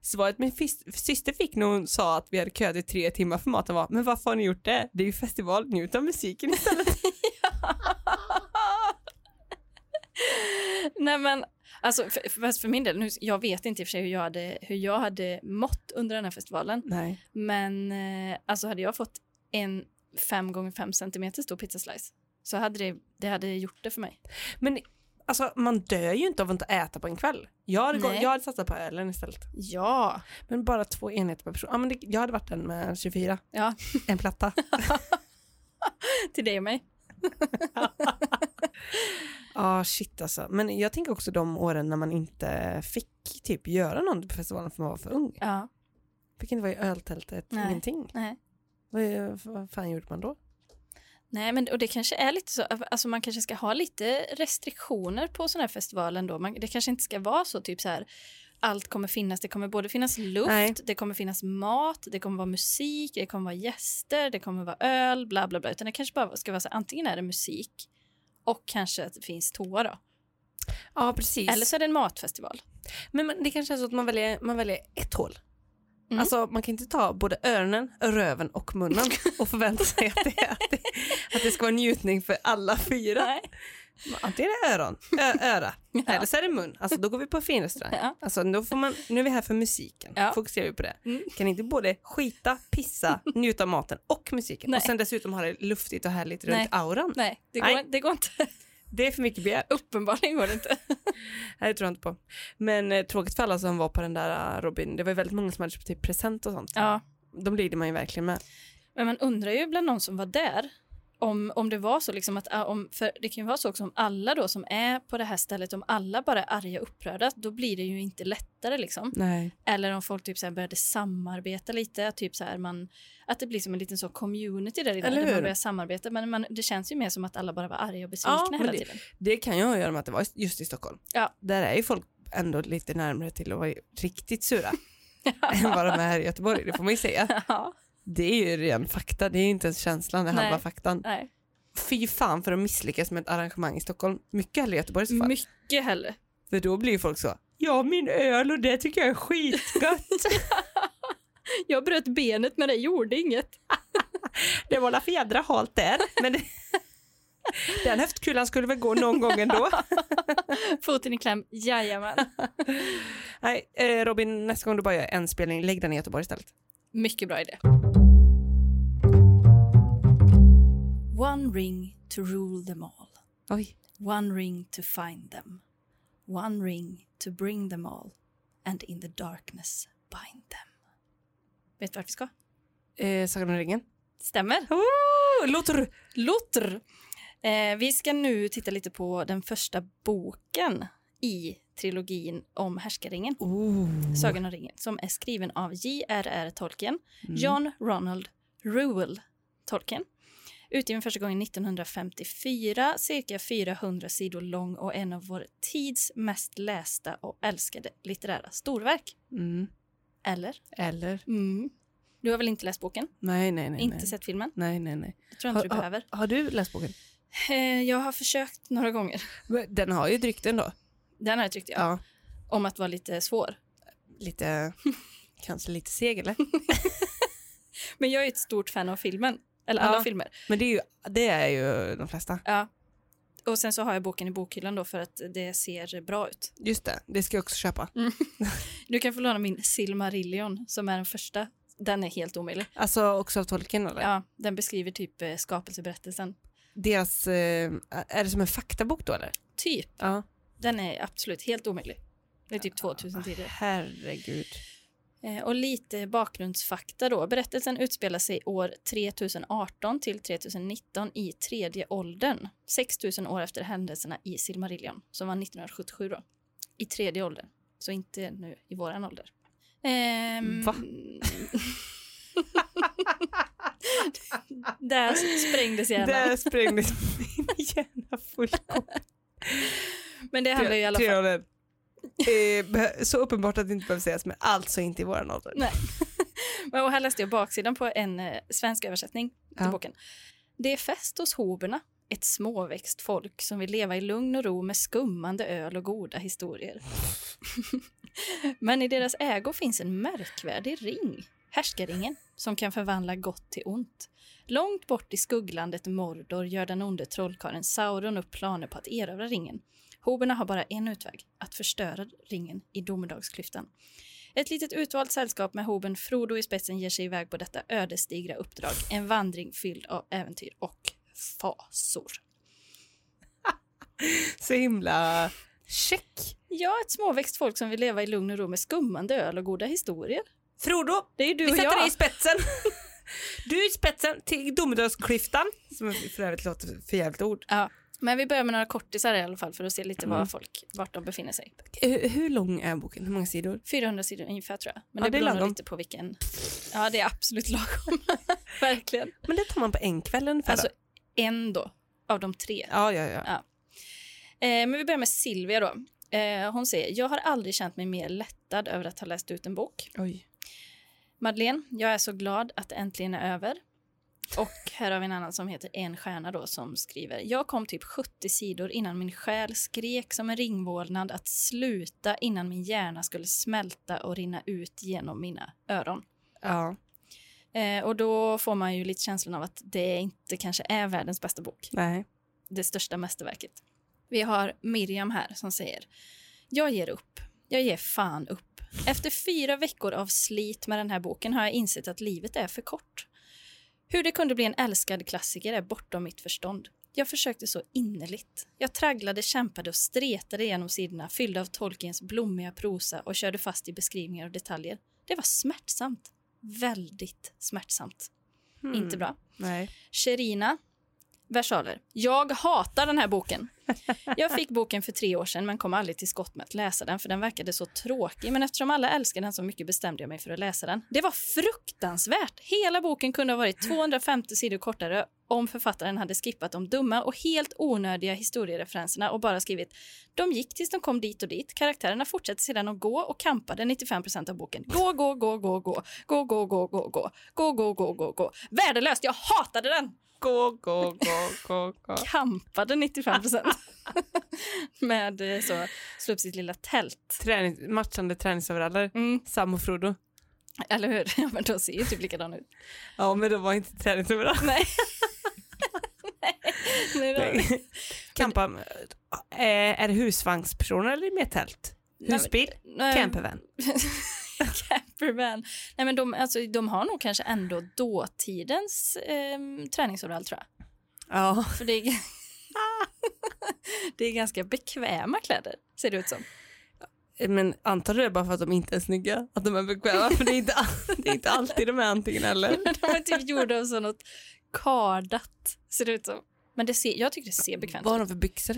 Svaret min fis- syster fick när hon sa att vi hade köat i tre timmar för maten var, men varför har ni gjort det? Det är ju festival, njut av musiken istället. Nej men, alltså för, för, för min del, nu, jag vet inte i och för sig hur jag, hade, hur jag hade mått under den här festivalen, Nej. men eh, alltså hade jag fått en 5 gånger 5 cm stor pizzaslice så hade det, det hade gjort det för mig. Men alltså, man dör ju inte av att inte äta på en kväll. Jag hade, gå- Nej. jag hade satsat på ölen istället. Ja, Men bara två enheter per person. Ja, men det, jag hade varit den med 24. Ja. En platta. till dig och mig. Ja, shit alltså. Men jag tänker också de åren när man inte fick typ göra något på festivalen för man var för ung. Ja, Fick inte vara i öltältet, Nej. ingenting. nej. Vad, är- vad fan gjorde man då? Nej, men och det kanske är lite så, alltså man kanske ska ha lite restriktioner på sådana här festivaler då. Man, det kanske inte ska vara så typ så här, allt kommer finnas, det kommer både finnas luft, Nej. det kommer finnas mat, det kommer vara musik, det kommer vara gäster, det kommer vara öl, bla bla bla. Utan det kanske bara ska vara så här, antingen är det musik och kanske att det finns toa då. Ja, precis. Eller så är det en matfestival. Men men det kanske är så att man väljer, man väljer ett hål. Mm. Alltså man kan inte ta både öronen, röven och munnen och förvänta sig att det, att det, att det ska vara njutning för alla fyra. Nej. Antingen är det öron, ö, öra, eller så är det mun. Alltså då går vi på finrestaurang. Ja. Alltså, då får man, nu är vi här för musiken, Ja. fokuserar vi på det. Mm. Kan inte både skita, pissa, njuta av maten och musiken Nej. och sen dessutom ha det luftigt och härligt runt Nej. auran. Nej, det går, Nej. det går inte. Det är för mycket begärt. Uppenbarligen går det inte. Nej, Det tror jag inte på. Men eh, tråkigt för alla som var på den där eh, Robin, det var ju väldigt många som hade köpt typ present och sånt. Ja. De lider man ju verkligen med. Men man undrar ju bland någon som var där om, om det var så liksom att ah, om, för det kan ju vara så också om alla då som är på det här stället om alla bara är arga och upprörda då blir det ju inte lättare liksom. Nej. Eller om folk typ så här började samarbeta lite, typ så här man, att det blir som en liten så community där inne Eller där man hur? börjar samarbeta men man, det känns ju mer som att alla bara var arga och besvikna men hela det- tiden. Det kan ju ha att göra med att det var just i Stockholm. Ja. Där är ju folk ändå lite närmare till att vara riktigt sura än vad de är här i Göteborg, det får man ju säga. Ja, Det är ju ren fakta, det är ju inte ens känslan, det är Nej. halva faktan. nej. Fy fan för att misslyckas med ett arrangemang i Stockholm, mycket hellre i Göteborg i så fall. Mycket hellre. För då blir ju folk så, ja min öl och det tycker jag är skitgött. Jag bröt benet men det gjorde inget. det var la för jädra halt där, men det... den höftkulan skulle väl gå någon gång ändå. Foten i kläm, jajamän. Nej, eh, Robin, nästa gång du bara gör en spelning, lägg den i Göteborg istället. Mycket bra idé. One ring to rule them all. Oj. One ring to find them. One ring to bring them all. And in the darkness bind them. Vet du vart vi ska? Eh, Sagan om ringen. Stämmer. Oh, låter... Låter. Eh, vi ska nu titta lite på den första boken i trilogin om härskaringen, Oh. Sagan om ringen, som är skriven av J.R.R. Tolkien. Mm. John Ronald Reuel Tolkien. Utgiven första gången 1954, cirka 400 sidor lång och en av vår tids mest lästa och älskade litterära storverk. Mm. Eller? Eller? Du har väl inte läst boken? Nej, Mm. nej, nej. inte nej. sett filmen? Nej, nej, nej. Det tror jag inte du Har- behöver. Har du läst boken? Eh, Jag har försökt några gånger. Men Den har ju ett rykte ändå. Den här tyckte jag. Ja. Om att vara lite svår. Lite... Kanske lite seg eller? Men jag är ett stort fan av filmen. Eller alla Ja. filmer. Men det är ju, det är ju de flesta. Ja. Och sen så har jag boken i bokhyllan då för att det ser bra ut. Just det, det ska jag också köpa. Du kan få låna min Silmarillion som är den första. Den är helt omöjlig. Alltså också av tolken eller? Ja, den beskriver typ eh, skapelseberättelsen. Deras, eh, är det som en faktabok då eller? Typ. Ja. Den är absolut helt omöjlig. Det är typ 2000 sidor. Ah, Herregud. Eh, Och lite bakgrundsfakta då. Berättelsen utspelar sig år 3018 till 3019 i tredje åldern. 6000 år efter händelserna i Silmarillion som var 1977 då. I tredje åldern. Så inte nu i våran ålder. Ehm, Va? Där sprängdes hjärnan. Där sprängdes min hjärna fullkomligt. Men det handlar ju i alla fall... fall... Eh, så uppenbart att det inte behöver sägas, men alltså inte i våran ålder. Nej. Men Och här läste jag baksidan på en eh, svensk översättning till Ja. boken. Det är fest hos hoberna, ett småväxt folk som vill leva i lugn och ro med skummande öl och goda historier. Men i deras ägo finns en märkvärdig ring, härskaringen, som kan förvandla gott till ont. Långt bort i skugglandet Mordor gör den onde trollkarlen Sauron upp planer på att erövra ringen. Hoberna har bara en utväg, att förstöra ringen i domedagsklyftan. Ett litet utvalt sällskap med hoben Frodo i spetsen ger sig iväg på detta ödesdigra uppdrag. En vandring fylld av äventyr och fasor. Så himla check. Ja, ett småväxt folk som vill leva i lugn och ro med skummande öl och goda historier. Frodo, Det är ju du vi och sätter dig i jag. spetsen. Du i spetsen till domedagsklyftan, som för övrigt låter för jävligt ord. Ja. Men vi börjar med några kortisar i alla fall för att se lite var Mm. folk, vart de befinner sig. Hur, hur lång är boken? Hur många sidor? 400 sidor ungefär tror jag. Men Ja, det det är beror nog lagom. lite på vilken. Ja, det är absolut lagom. Verkligen. Men det tar man på en kväll ungefär. Alltså Alltså, en då, av de tre. ja, ja, ja. Eh, men vi börjar med Silvia då. Eh, hon säger, jag har aldrig känt mig mer lättad över att ha läst ut en bok. Oj. Madeleine, jag är så glad att det äntligen är över. Och här har vi en annan som heter En stjärna då som skriver. Jag kom typ 70 sidor innan min själ skrek som en ringvålnad att sluta innan min hjärna skulle smälta och rinna ut genom mina öron. Ja, Eh, och då får man ju lite känslan av att det inte kanske är världens bästa bok nej. det största mästerverket. Vi har Miriam här som säger Jag ger upp. Jag ger fan upp. Efter fyra veckor av slit med den här boken har jag insett att livet är för kort. Hur det kunde bli en älskad klassiker är bortom mitt förstånd. Jag försökte så innerligt. Jag tragglade, kämpade och stretade genom sidorna fyllda av Tolkiens blommiga prosa och körde fast i beskrivningar och detaljer. Det var smärtsamt. Väldigt smärtsamt. Hmm. Inte bra. Nej. Sherina versaler. Jag hatar den här boken. Jag fick boken för tre år sedan men kom aldrig till skott med att läsa den för den verkade så tråkig men eftersom alla älskar den så mycket bestämde jag mig för att läsa den. Det var fruktansvärt! Hela boken kunde ha varit 250 sidor kortare om författaren hade skippat de dumma och helt onödiga historiereferenserna och bara skrivit “De gick tills de kom dit och dit, karaktärerna fortsatte sedan att gå och kampade 95 av boken. Gå, gå, gå, gå, gå, gå, gå, gå, gå, gå, gå, gå, gå, gå, gå. Värdelöst! Jag hatade den!” Gå, gå, gå, gå, gå. kampade 95 procent. Med eh, så, slå upp sitt lilla tält. Träning, matchande träningsoveraller. Sam och Frodo. Eller hur? Ja, men de ser ju typ likadana ut. Ja, men de var inte träningsoveraller. Nej. Nej. då. Nej, Kampa, eh, är det husvagnspersoner eller mer tält? men- Husbil? nej, Campervan? Campervan. Nej, men de, alltså, de har nog kanske ändå dåtidens eh, träningsoverall tror jag. Ja. För det är, det är ganska bekväma kläder, ser det ut som. Men antar du det bara för att de inte är snygga? Att de är bekväma? För det är inte, all- det är inte alltid de är antingen eller. De är typ gjorda av så något kardat, ser det ut som. Men det ser, jag tycker det ser bekvämt ut. Vad har de för byxor?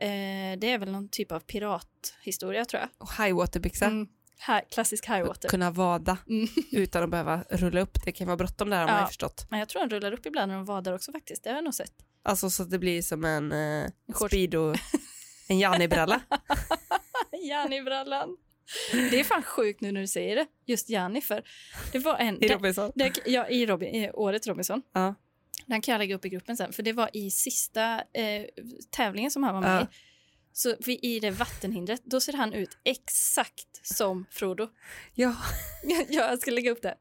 Eh, det är väl någon typ av pirathistoria tror jag. Och highwaterbyxa? Mm. Hi- klassisk highwater. Kunna vada Mm. utan att behöva rulla upp. Det kan vara bråttom där har man Ja. ju förstått. Men jag tror den rullar upp ibland när de vadar också faktiskt. Det har jag nog sett. Alltså så att det blir som en eh, Shorts. speedo, en Janni-bralla. Janni-brallan. Det är fan sjukt nu när du säger det. Just Janni för det var en... I Robinson. Den, den, ja, i, Robin, i året Robinson. Ja. Den kan jag lägga upp i gruppen sen. För det var i sista eh, tävlingen som han var med Ja. i. Så vi, i det vattenhindret, då ser han ut exakt som Frodo. Ja, Ja, jag ska lägga upp det.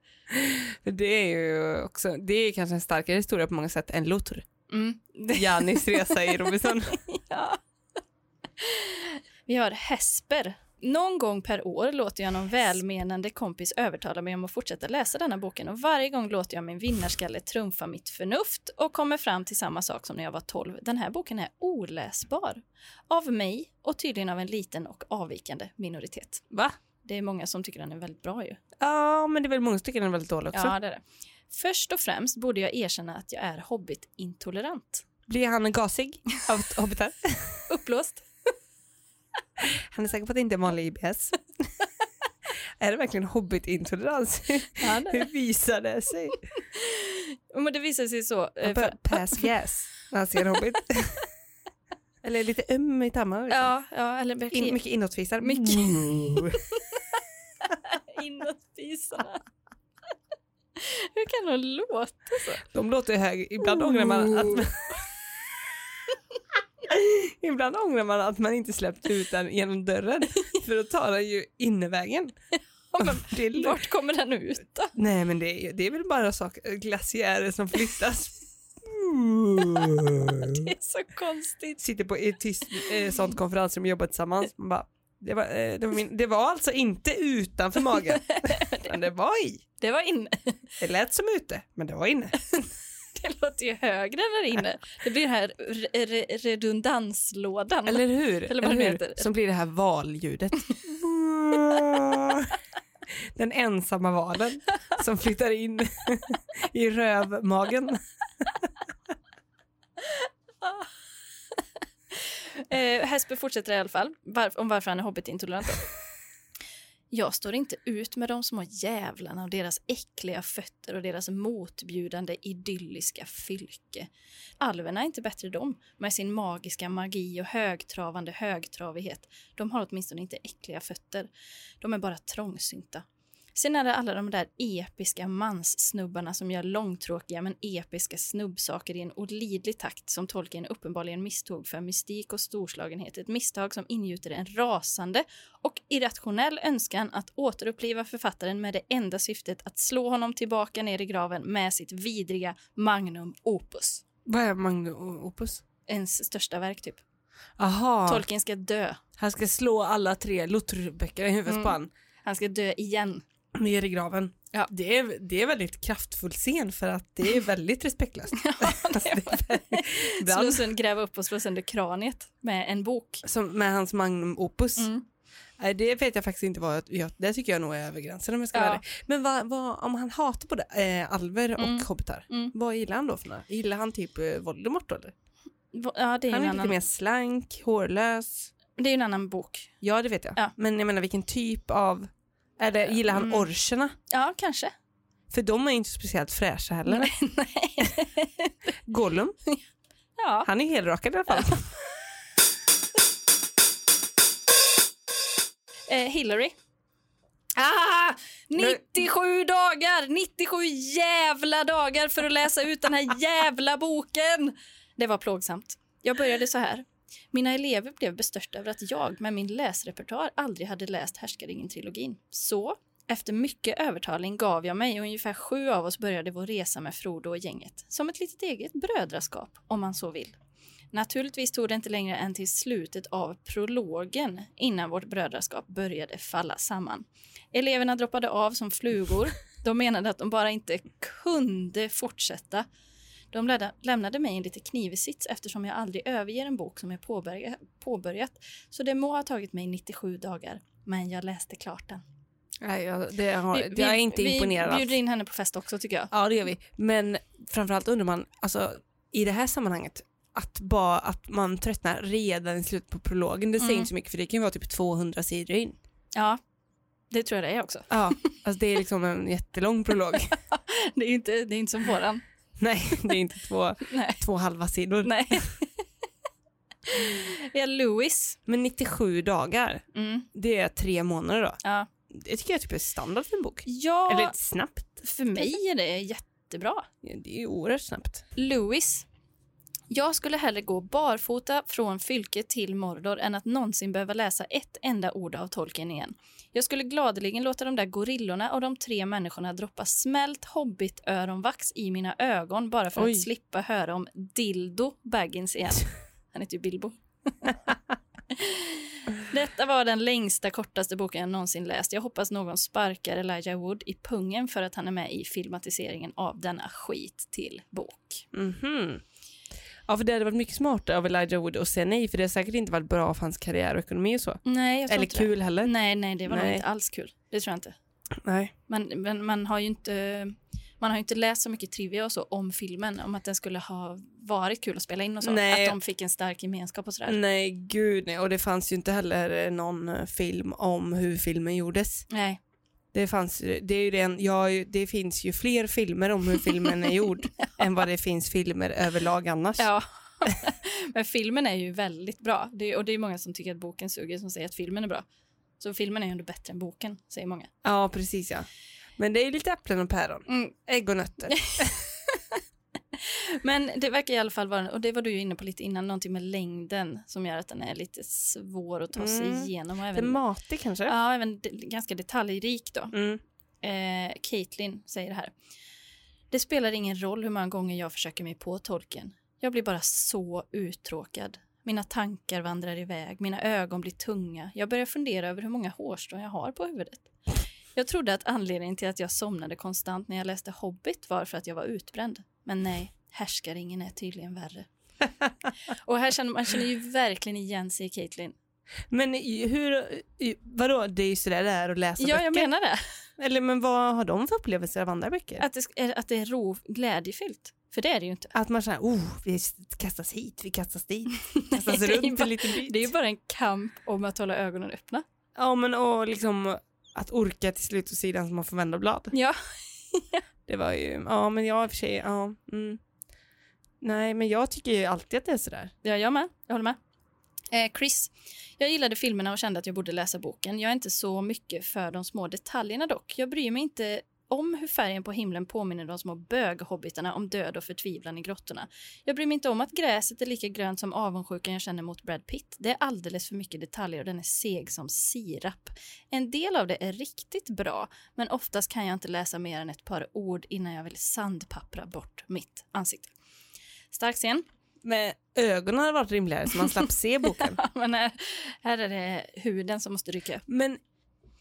för det är ju också, det är kanske en starkare historia på många sätt än Lothar. Mm. Jannis resa i Robinson. Ja. Vi har Hesper. Någon gång per år låter jag någon välmenande kompis övertala mig om att fortsätta läsa denna boken och varje gång låter jag min vinnarskalle trumfa mitt förnuft och kommer fram till samma sak som när jag var 12. Den här boken är oläsbar. Av mig och tydligen av en liten och avvikande minoritet. Va? Det är många som tycker den är väldigt bra ju. Ja, men det är väl många stycken den är väldigt dålig också. Ja, det är det. Först och främst borde jag erkänna att jag är hobbitintolerant. Blir han gasig av hobbitar? Uppblåst. Han är säker på att det inte är vanlig IBS. är det verkligen hobbitintolerans? Ja, det är det. Hur visar det sig? Men det visar sig så. eh, Han för- bör pass gas när han ser en hobbit. Eller lite öm i tarmarna. liksom. Ja, ja eller blir In, In, mycket inåtfisar. Mycket. Mm. inåt fisarna. Hur kan de låta? De låter ju hög. Ibland ångrar man att man... Ibland ångrar man att man inte släppt ut den genom dörren. För då tar den ju innevägen. Ja, men Det är lugnt. Vart kommer den ut då? Nej men det är, det är väl bara saker, glaciärer som flyttas. Det är så konstigt. Sitter på ett tyst eh, sånt konferensrum och jobbar tillsammans. Man bara, Det var, eh, det, var min, det var alltså inte utanför magen, utan det var i. Det var inne. Det lät som ute, men det var inne. Det låter ju högre än där inne. Det blir den här re- re- redundanslådan. Eller hur? Eller vad det heter. Som blir det här valljudet. Den ensamma valen som flyttar in i rövmagen. Eh, Hesper fortsätter i alla fall varf- om varför han är hobbitintolerant. då. Jag står inte ut med de små jävlarna och deras äckliga fötter och deras motbjudande idylliska fylke. Alverna är inte bättre de, med sin magiska magi och högtravande högtravighet. De har åtminstone inte äckliga fötter. De är bara trångsynta. Sen är det alla de där episka manssnubbarna som gör långtråkiga men episka snubbsaker i en olidlig takt som tolken uppenbarligen misstog för mystik och storslagenhet. Ett misstag som ingjuter en rasande och irrationell önskan att återuppliva författaren med det enda syftet att slå honom tillbaka ner i graven med sitt vidriga magnum opus. Vad är Magnus Opus? Ens största verk, typ. Aha, Tolkien ska dö. han ska slå alla tre Lutherböcker i huvudet Mm. på han. Han ska dö igen. Ner i graven. Ja. Det, är, det är väldigt kraftfull scen för att det är väldigt respektlöst. Alltså, det är väldigt- Slå ibland- sönder, gräva upp och slå sönder kraniet med en bok. som, med hans Magnum Opus. Mm. Nej, det vet jag faktiskt inte vad jag, jag, det tycker jag nog är över gränsen om jag ska Ja. vara ärlig. Men vad, vad, om han hatar både eh, alver och Mm. hobbitar, Mm. vad gillar han då för några? Gillar han typ eh, Voldemort då eller? Ja, det är, ju Han är en lite annan, mer slank, hårlös. det är ju en annan bok. Ja det vet jag. Ja. Men jag menar vilken typ av, eller gillar han Mm. orcherna? Ja, kanske. För de är ju inte speciellt fräscha heller. Gollum, Ja. han är ju helrakad i alla fall. Eh, Hillary. Ah! 97 dagar! 97 jävla dagar för att läsa ut den här jävla boken! Det var plågsamt. Jag började så här. Mina elever blev bestörta över att jag med min läsrepertoar aldrig hade läst Härskaringen-trilogin. Så, efter mycket övertalning gav jag mig och ungefär sju av oss började vår resa med Frodo och gänget. Som ett litet eget brödraskap, om man så vill. Naturligtvis tog det inte längre än till slutet av prologen innan vårt brödraskap började falla samman. Eleverna droppade av som flugor. De menade att de bara inte kunde fortsätta. De läda- lämnade mig i en lite knivig sits eftersom jag aldrig överger en bok som jag påbörja- påbörjat. Så det må ha tagit mig 97 dagar, men jag läste klart den. Nej, jag, det har, Vi- jag är vi- inte imponerad. Vi alls. bjuder in henne på fest också tycker jag. Ja det gör vi. Men framförallt undrar man, alltså, i det här sammanhanget, att, bara, att man tröttnar redan i slutet på prologen, det säger Mm. inte så mycket för det kan ju vara typ 200 sidor in. Ja, det tror jag det är också. Ja, alltså det är liksom en jättelång prolog. Det är ju inte, det är inte som våran. Nej, det är inte två, Nej. två halva sidor. Nej. ja, Louis. Men 97 dagar, Mm, det är tre månader då. ja. Det tycker jag typ är standard för en bok. ja, Eller snabbt. för mig är det jättebra. Det är ju oerhört snabbt. Louis. Jag skulle hellre gå barfota från fylke till Mordor än att någonsin behöva läsa ett enda ord av Tolkien igen. Jag skulle gladeligen låta de där gorillorna och de tre människorna droppa smält hobbitöronvax i mina ögon bara för Oj. att slippa höra om Dildo Baggins igen. Han heter ju Bilbo. Detta var den längsta, kortaste boken jag någonsin läst. Jag hoppas någon sparkar Elijah Wood i pungen för att han är med i filmatiseringen av denna skit till bok. Mhm. Ja, för det hade varit mycket smart av Elijah Wood att säga nej, för det har säkert inte varit bra för hans karriär och ekonomi och så. Nej, jag tror Eller inte kul det. Mm. heller. Nej, nej, det var nog Nej. inte alls kul. Det tror jag inte. Nej. Men, men man har ju inte... Man har ju inte läst så mycket trivia och så om filmen, om att den skulle ha varit kul att spela in och så. Nej. Mm. Att de fick en stark gemenskap och sådär. Nej, gud nej. Och det fanns ju inte heller eh, någon eh, film om hur filmen gjordes. Nej. Det, fanns, ju- det, är ju den, ja, det finns ju fler filmer om hur filmen är gjord än vad det finns filmer överlag annars. Ja. men filmen är ju väldigt bra. Det är, och det är många som tycker att boken suger som säger att filmen är bra. Så filmen är ju ändå bättre än boken, säger många. Ja, precis ja. Men det är ju lite äpplen och päron. Mm. Ägg och nötter. Men det verkar i alla fall vara, och det var du ju inne på lite innan, någonting med längden som gör att den är lite svår att ta sig Mm. igenom. Och Lite även, matig kanske? ja, även de, ganska detaljrik då. Mm. Eh, Caitlin säger det här. Det spelar ingen roll hur många gånger jag försöker mig på tolken. Jag blir bara så uttråkad. Mina tankar vandrar iväg, mina ögon blir tunga. Jag börjar fundera över hur många hårstrån jag har på huvudet. Jag trodde att anledningen till att jag somnade konstant när jag läste Hobbit var för att jag var utbränd. Men nej, härskaringen är tydligen värre. Och här känner man känner ju verkligen igen sig i Caitlyn. Men i- hur, i- vadå, det är ju sådär det är att läsa Ja, Alltså, böcker. jag menar det. Eller men vad har de för upplevelser av andra böcker? Att, Att det, sk- är- att det är ro, glädjefyllt. För det är det ju inte. man känner, oh, vi kastas hit, vi kastas dit, kastas det är ju runt bara- en liten bit. Det är ju bara en kamp om att hålla ögonen öppna. Ja, men och liksom att orka till slut och sidan som man får vända blad. Ja, Det var ju, ja men jag i och för sig, ja. Mm. Nej, men jag tycker ju alltid att det är sådär. ja jag med. Jag håller med. Eh, Chris, jag gillade filmerna och kände att jag borde läsa boken. Jag är inte så mycket för de små detaljerna dock. Jag bryr mig inte om hur färgen på himlen påminner de små böghobbitarna om död och förtvivlan i grottorna. Jag bryr mig inte om att gräset är lika grönt som avundsjukan jag känner mot Brad Pitt. Det är alldeles för mycket detaljer och den är seg som sirap. En del av det är riktigt bra, men oftast kan jag inte läsa mer än ett par ord innan jag vill sandpappra bort mitt ansikte. Stark scen. Men ögonen hade varit rimligare så man slapp se boken. Ja, Men här, här är det huden som måste rycka upp. Men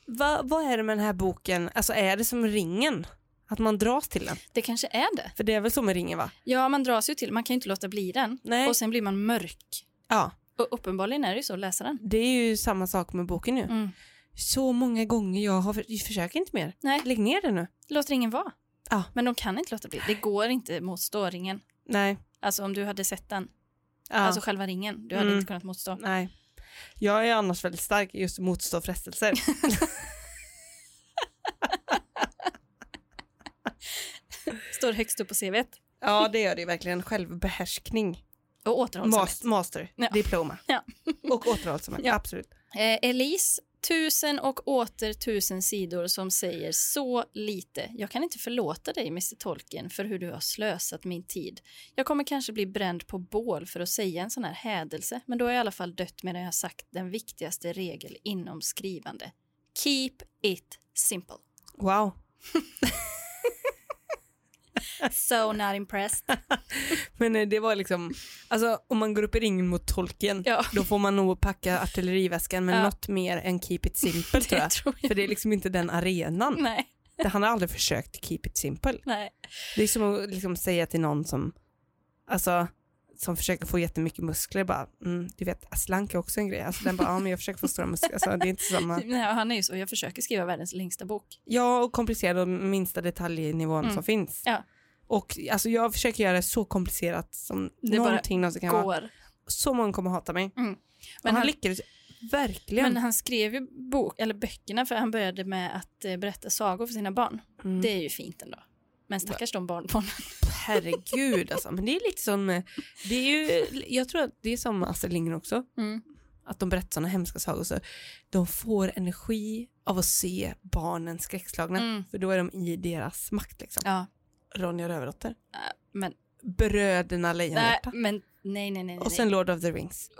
va, vad är det med den här boken, alltså är det som ringen? Att man dras till den? Det kanske är det. För det är väl så med ringen va? Ja, man dras ju till. Man kan ju inte låta bli den. Nej. Och sen blir man mörk. Ja, Och uppenbarligen är det ju så, läsa den. det är ju samma sak med boken nu. Mm. Så många gånger jag har, för, försök inte mer. Nej. Lägg ner det nu. Låter ingen vara. Ja. Men de kan inte låta bli. Det går inte motstå ringen. Nej. Alltså om du hade sett den, Ja. alltså själva ringen, du hade Mm. inte kunnat motstå. Nej. Jag är annars väldigt stark i just att motstå frestelser. Står högst upp på CVt. ja, det gör det ju verkligen. Självbehärskning. Och återhållsamhet. Mas- master, Ja. diploma. Ja. och återhållsamhet, Ja. absolut. Eh, Elise, tusen och åter tusen sidor som säger så lite. Jag kan inte förlåta dig, Mr Tolkien, för hur du har slösat min tid. Jag kommer kanske bli bränd på bål för att säga en sån här hädelse, men då har jag i alla fall dött medan jag har sagt den viktigaste regel inom skrivande. Keep it simple. Wow. So not impressed. Men eh, det var liksom, alltså om man går upp i ringen mot tolken, Ja. då får man nog packa artilleriväskan med Ja. något mer än keep it simple tror jag. tror jag. För det är liksom inte den arenan. Nej, Det- Han har aldrig försökt keep it simple. nej. Det är som att liksom säga till någon som, alltså, som försöker få jättemycket muskler bara, mm, du vet, slank är också en grej. Alltså den bara, ja men jag försöker få stora muskler. Alltså, det är inte samma. nej och han är ju så, jag försöker skriva världens längsta bok. Ja, och komplicerad och minsta detaljnivån Mm. som finns. Ja. Och alltså, jag försöker göra det så komplicerat som Det bara någonting någonsin kan vara. Går. Så många kommer hata mig. Men Men han, han- lyckades verkligen. Men han skrev ju bok, eller böckerna för han började med att eh, berätta sagor för sina barn. Mm. Det är ju fint ändå. Men stackars de barnbarnen. Herregud alltså. Men det är lite som, eh, det är ju, jag tror att det är som Astrid Lindgren också. Mm. Att de berättar sådana hemska sagor så de får energi av att se barnen skräckslagna. Mm. För då är de i deras makt liksom. Ja, Ronja och Rövardotter. Äh, men, Bröderna nej, Lejonhjärta. men nej, nej, nej. nej. Och sen Lord of the Rings.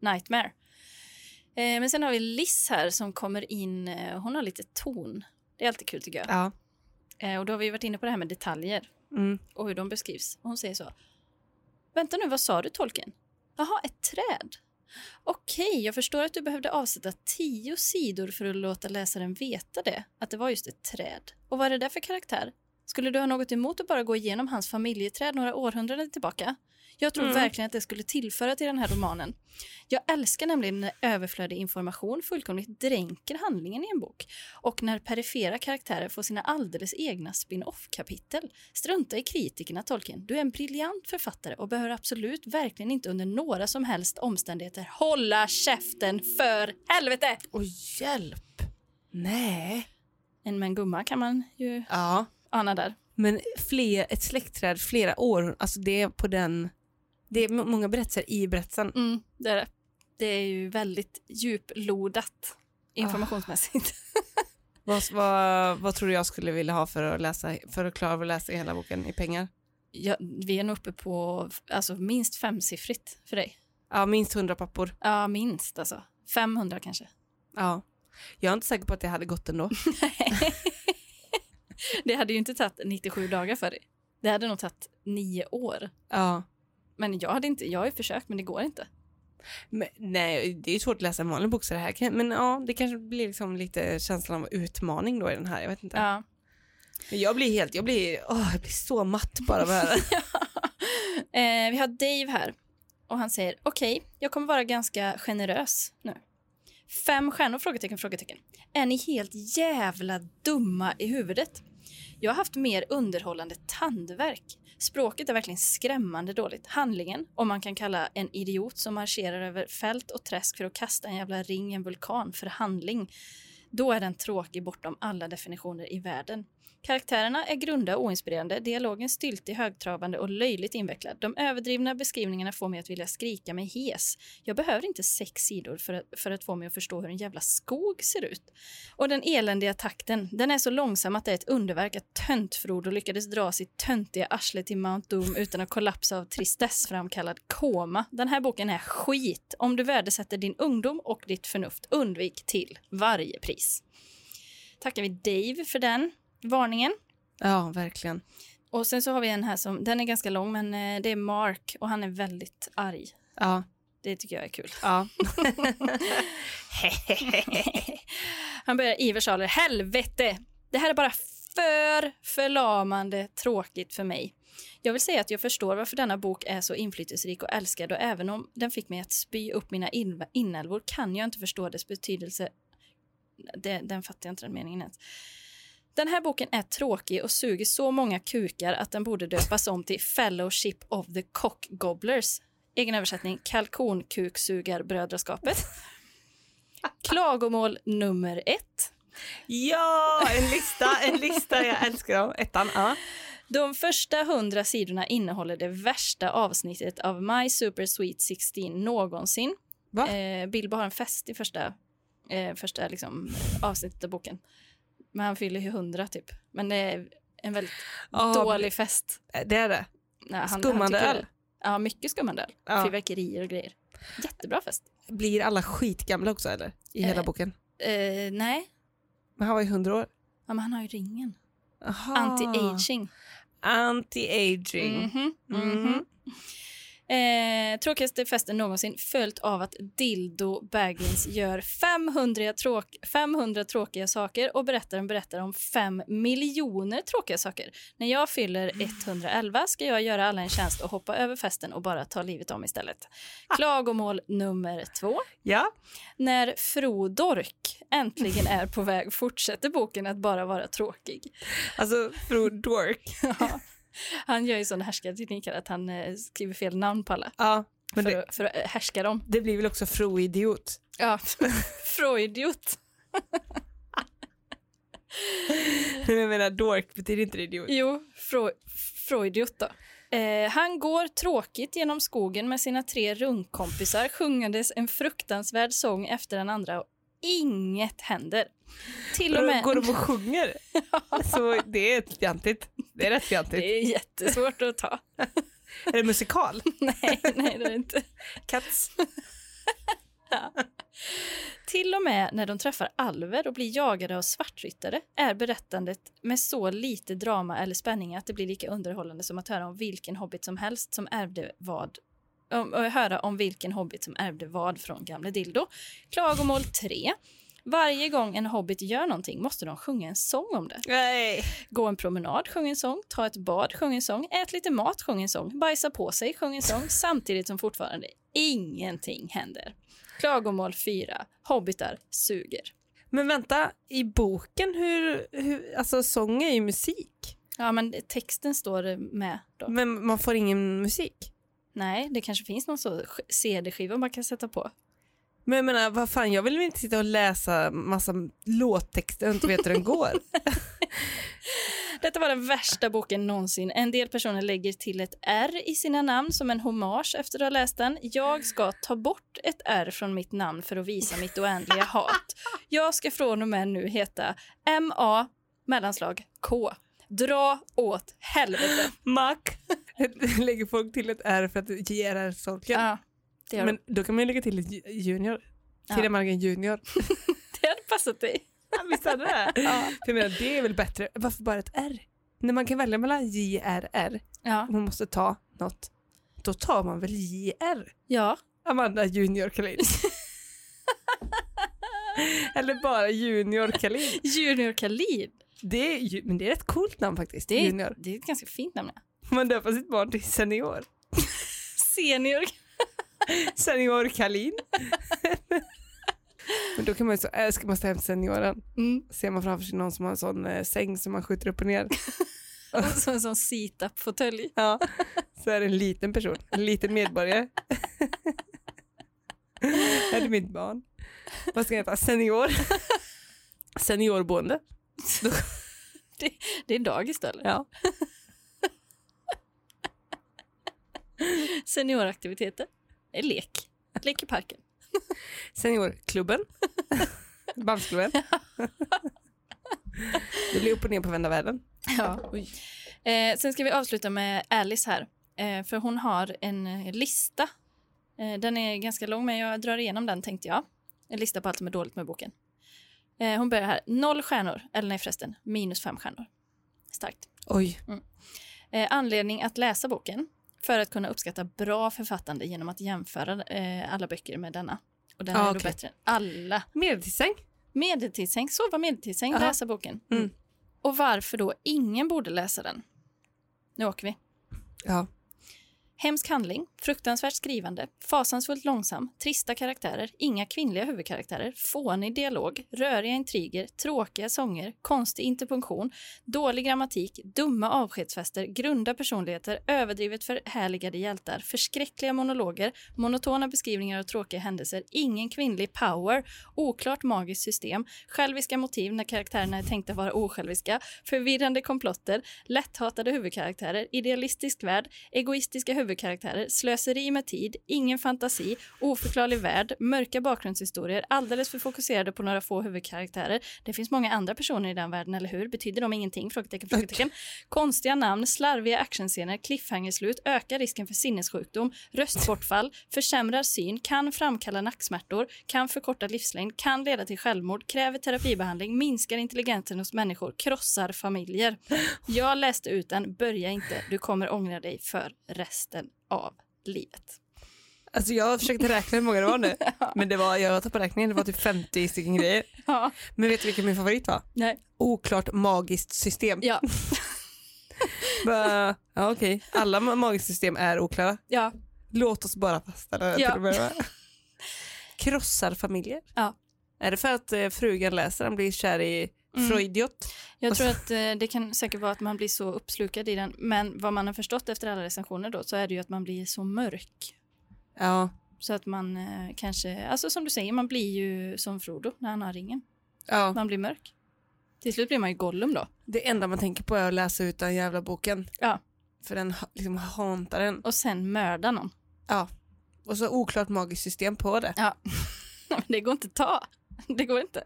Nightmare. Eh, men sen har vi Liss här som kommer in. Eh, hon har lite ton. Det är alltid kul tycker jag. Ja. Eh, och då har vi varit inne på det här med detaljer Mm. och hur de beskrivs. Och hon säger så. Vänta nu, vad sa du tolken? Jaha, ett träd. Okej, jag förstår att du behövde avsätta tio sidor för att låta läsaren veta det, att det var just ett träd. Och vad är det där för karaktär? Skulle du ha något emot att bara gå igenom hans familjeträd några århundraden tillbaka? Jag tror Mm. verkligen att det skulle tillföra till den här romanen. Jag älskar nämligen när överflödig information fullkomligt dränker handlingen i en bok och när perifera karaktärer får sina alldeles egna spin-off-kapitel. Strunta i kritikerna, Tolkien. Du är en briljant författare och behöver absolut verkligen inte under några som helst omständigheter hålla käften för helvete! Och hjälp! Nej. En med en gumma kan man ju Ja. ana där. Men fler, ett släktträd flera år, alltså det är på den... Det är m- många berättelser i berättelsen. Mm, det är det. Det är ju väldigt djuplodat informationsmässigt. Vad, vad, vad tror du jag skulle vilja ha för att, läsa, för att klara av att läsa hela boken i pengar? Ja, vi är nog uppe på alltså, minst femsiffrigt för dig. Ja, minst 100 pappor. Ja, minst alltså. 500 kanske. Ja. Jag är inte säker på att det hade gått ändå. Det hade ju inte tagit 97 dagar för dig. Det hade nog tagit nio år. Ja. Men jag hade inte, jag har ju försökt men det går inte. Men, nej, det är ju svårt att läsa en vanlig bok så det här kan, men ja, det kanske blir liksom lite känslan av utmaning då i den här, jag vet inte. Ja. Men jag blir helt, jag blir, åh, jag blir så matt bara av det här. Eh, vi har Dave här och han säger okej, jag kommer vara ganska generös nu. Fem stjärnor? Frågetecken, frågetecken. Är ni helt jävla dumma i huvudet? Jag har haft mer underhållande tandverk. Språket är verkligen skrämmande dåligt. Handlingen, om man kan kalla en idiot som marscherar över fält och träsk för att kasta en jävla ring i en vulkan för handling, då är den tråkig bortom alla definitioner i världen. Karaktärerna är grunda och oinspirerande, dialogen styltig, högtravande och löjligt invecklad. De överdrivna beskrivningarna får mig att vilja skrika mig hes. Jag behöver inte sex sidor för att, för att få mig att förstå hur en jävla skog ser ut. Och den eländiga takten, den är så långsam att det är ett underverk att töntfrodo lyckades dra sitt töntiga arsle till Mount Doom utan att kollapsa av tristessframkallad koma. Den här boken är skit. Om du värdesätter din ungdom och ditt förnuft, undvik till varje pris. Tackar vi Dave för den varningen. Ja, verkligen. Och sen så har vi en här som, den är ganska lång men eh, det är Mark och han är väldigt arg. Ja, Det tycker jag är kul. ja. han börjar iversaler. Helvete! Det här är bara för förlamande tråkigt för mig. Jag vill säga att jag förstår varför denna bok är så inflytelserik och älskad och även om den fick mig att spy upp mina in- inälvor kan jag inte förstå dess betydelse. Det, den fattar jag inte den meningen ens. Den här boken är tråkig och suger så många kukar att den borde döpas om till Fellowship of the Cock Gobblers. Egen översättning, kalkonkuksugarbrödraskapet. Klagomål nummer ett. ja, en lista, en lista, jag älskar dem. Ettan, ja. De första hundra sidorna innehåller det värsta avsnittet av My Super Sweet 16 någonsin. Va? Eh, Bilbo har en fest i första, eh, första liksom, avsnittet av boken. Men han fyller ju hundra typ. Men det är en väldigt Ja, dålig fest. Eh, Det är det. Nej, han- han Skummande tycker- öl. Ja, mycket skummande öl. Ja. Fyrverkerier och grejer. Jättebra fest. Blir alla skitgamla också eller? I hela Eh. boken? Eh, nej, Men han var ju hundra år. ja, men han har ju ringen. Aha. Anti-aging. Anti-aging. Mhm, Mhm. mhm. Eh, tråkigaste festen någonsin följt av att Dildo Baggins gör 500, tråk, 500 tråkiga saker och berättaren berättar om 5 miljoner tråkiga saker. När jag fyller 111 ska jag göra alla en tjänst och hoppa över festen och bara ta livet om istället. Ah. Klagomål nummer två. Ja. När Frodork äntligen är på väg fortsätter boken att bara vara tråkig. Alltså, Fru Dork. Ja. Han gör ju sådana härskartekniker att han eh, skriver fel namn på alla Ja, men för, det, att, för att eh, härska dem. det blir väl också Fru Idiot. Ja. Freudiot. Men Jag menar, Dork betyder inte idiot. Jo, fro, Freudiot då. Eh, han går tråkigt genom skogen med sina tre rungkompisar sjungandes en fruktansvärd sång efter den andra och inget händer. Till och med... Går de och sjunger? Så det är fjantigt. Det är rätt fjantigt. Det är jättesvårt att ta. Är det musikal? nej, nej, det är det inte. Cats? Till och med när de träffar alver och blir jagade av svartryttare är berättandet med så lite drama eller spänning att det blir lika underhållande som att höra om vilken hobbit som helst som ärvde vad om, och höra om vilken hobbit som ärvde vad från gamle Dildo. Klagomål 3. Varje gång en hobbit gör någonting måste de sjunga en sång om det. Nej. Gå en promenad, sjung en sång. Ta ett bad, sjung en sång. Ät lite mat, sjung en sång. Bajsa på sig, sjung en sång. Samtidigt som fortfarande ingenting händer. Klagomål 4. Hobbitar suger. Men vänta, i boken, hur, hur, alltså sång är ju musik. Ja, men texten står med då. Men man får ingen musik. Nej, det kanske finns någon så sk- CD-skiva man kan sätta på. Men jag menar, vad fan, jag vill väl inte sitta och läsa massa låttexter och inte veta hur den går. Detta var den värsta boken någonsin. En del personer lägger till ett R i sina namn som en hommage efter att ha läst den. Jag ska ta bort ett R från mitt namn för att visa mitt oändliga hat. Jag ska från och med nu heta MA mellanslag K. Dra åt helvete. Mac. Lägger folk till ett R för att ge R solken. Ja, det har Men då kan man ju lägga till ett ju- junior. Ja. Till Margen junior. det hade passat dig. Visst hade det? Ja. För jag menar, det är väl bättre. Varför bara ett R? När man kan välja mellan JRR Ja. och man måste ta något, då tar man väl JR? Ja. Amanda Junior Kalin. Eller bara Junior Kalin. Junior Khalid. Det är, ju- men det är ett coolt namn faktiskt. Det är, Junior. det är ett ganska fint namn. ja. Man döper sitt barn till Senior. Senior. Senior Kalin. men då kan man ju så, äh, ska man ta hem senioren? Mm. Ser man framför sig någon som har en sån eh, säng som man skjuter upp och ner. Som en sån sit-up-fåtölj. Ja, så är det en liten person, en liten medborgare. är det mitt barn? Vad ska jag heta? Senior? Seniorboende? Det är dagis då, eller? Ja. Senioraktiviteter. Det är lek. Lek i parken. Seniorklubben? Bamsklubben? det blir upp och ner på vända världen. Ja. Eh, sen ska vi avsluta med Alice här. Eh, för hon har en eh, lista. Eh, den är ganska lång, men jag drar igenom den tänkte jag. En lista på allt som är dåligt med boken. Eh, hon börjar här. Noll stjärnor. Eller nej förresten, minus fem stjärnor. Starkt. Oj. Eh, anledning att läsa boken för att kunna uppskatta bra författande genom att jämföra eh, alla böcker med denna. Och den Ah, är då okej. bättre än alla. Medeltidssäng? Medeltidssäng, sova medeltidssäng, Jaha. läsa boken. Mm. Och varför då ingen borde läsa den? Nu åker vi. Ja. Hemsk handling, fruktansvärt skrivande, fasansfullt långsam, trista karaktärer, inga kvinnliga huvudkaraktärer, fånig dialog, röriga intriger, tråkiga sånger, konstig interpunktion, dålig grammatik, dumma avskedsfester, grunda personligheter, överdrivet förhärligade hjältar, förskräckliga monologer, monotona beskrivningar av tråkiga händelser, ingen kvinnlig power, oklart magiskt system, själviska motiv när karaktärerna är tänkta vara osjälviska, förvirrande komplotter, lätthatade huvudkaraktärer, idealistisk värld, egoistiska huvudkaraktärer, slöseri med tid, ingen fantasi, oförklarlig värld, mörka bakgrundshistorier, alldeles för fokuserade på några få huvudkaraktärer. Det finns många andra personer i den världen, eller hur? Betyder de ingenting? Frågetecken, frågetecken. Konstiga namn, slarviga actionscener, cliffhanger-slut, ökar risken för sinnessjukdom, röstbortfall, försämrar syn, kan framkalla nacksmärtor, kan förkorta livslängd, kan leda till självmord, kräver terapibehandling, minskar intelligensen hos människor, krossar familjer. Jag läste ut den, börja inte. Du kommer ångra dig för resten av livet. Alltså jag försökte räkna hur många det var nu, men det var, jag tappade räkningen, det var typ 50 stycken grejer. Ja, Men vet du vilken min favorit var? nej. Oklart magiskt system. Ja, Bara, Ja, okej. Alla ma- magiska system är oklara. ja, Låt oss bara fastställa det Ja. till att börja med. Krossar familjer? Ja. Är det för att eh, frugan läser den blir kär i Mm. Freudiot? jag tror att eh, det kan säkert vara att man blir så uppslukad i den. Men vad man har förstått efter alla recensioner då så är det ju att man blir så mörk. Ja. Så att man eh, kanske, alltså som du säger, man blir ju som Frodo när han har ringen. ja. Man blir mörk. Till slut blir man ju Gollum då. Det enda man tänker på är att läsa ut den jävla boken. Ja. För den ha- liksom hantar en. Och sen mörda någon. Och så oklart magiskt system på det. Men det går inte att ta. Det går inte.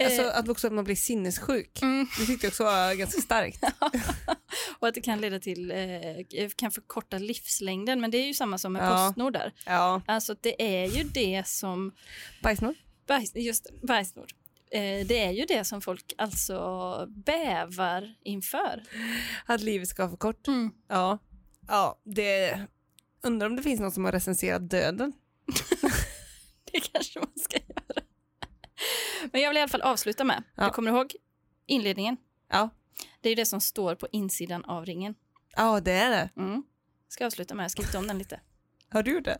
Alltså att också att man blir sinnessjuk. Eh. Mm. Det tyckte jag också var ganska starkt. Och att det kan leda till, eh, kan förkorta livslängden. Men det är ju samma som med Ja. Postnord där. Ja. Alltså det är ju det som, Bajsnor? bajs, just bajsnord, eh, det är ju det som folk alltså bävar inför. Att livet ska vara för kort. Mm. Ja. Ja, det... Undrar om det finns någon som har recenserat döden? Det kanske man ska göra. Men jag vill i alla fall avsluta med, Ja. du kommer ihåg inledningen? Ja. Det är ju det som står på insidan av ringen. Ja, det är det. Mm. Ska avsluta med, jag har skrivit om den lite. Har du gjort det?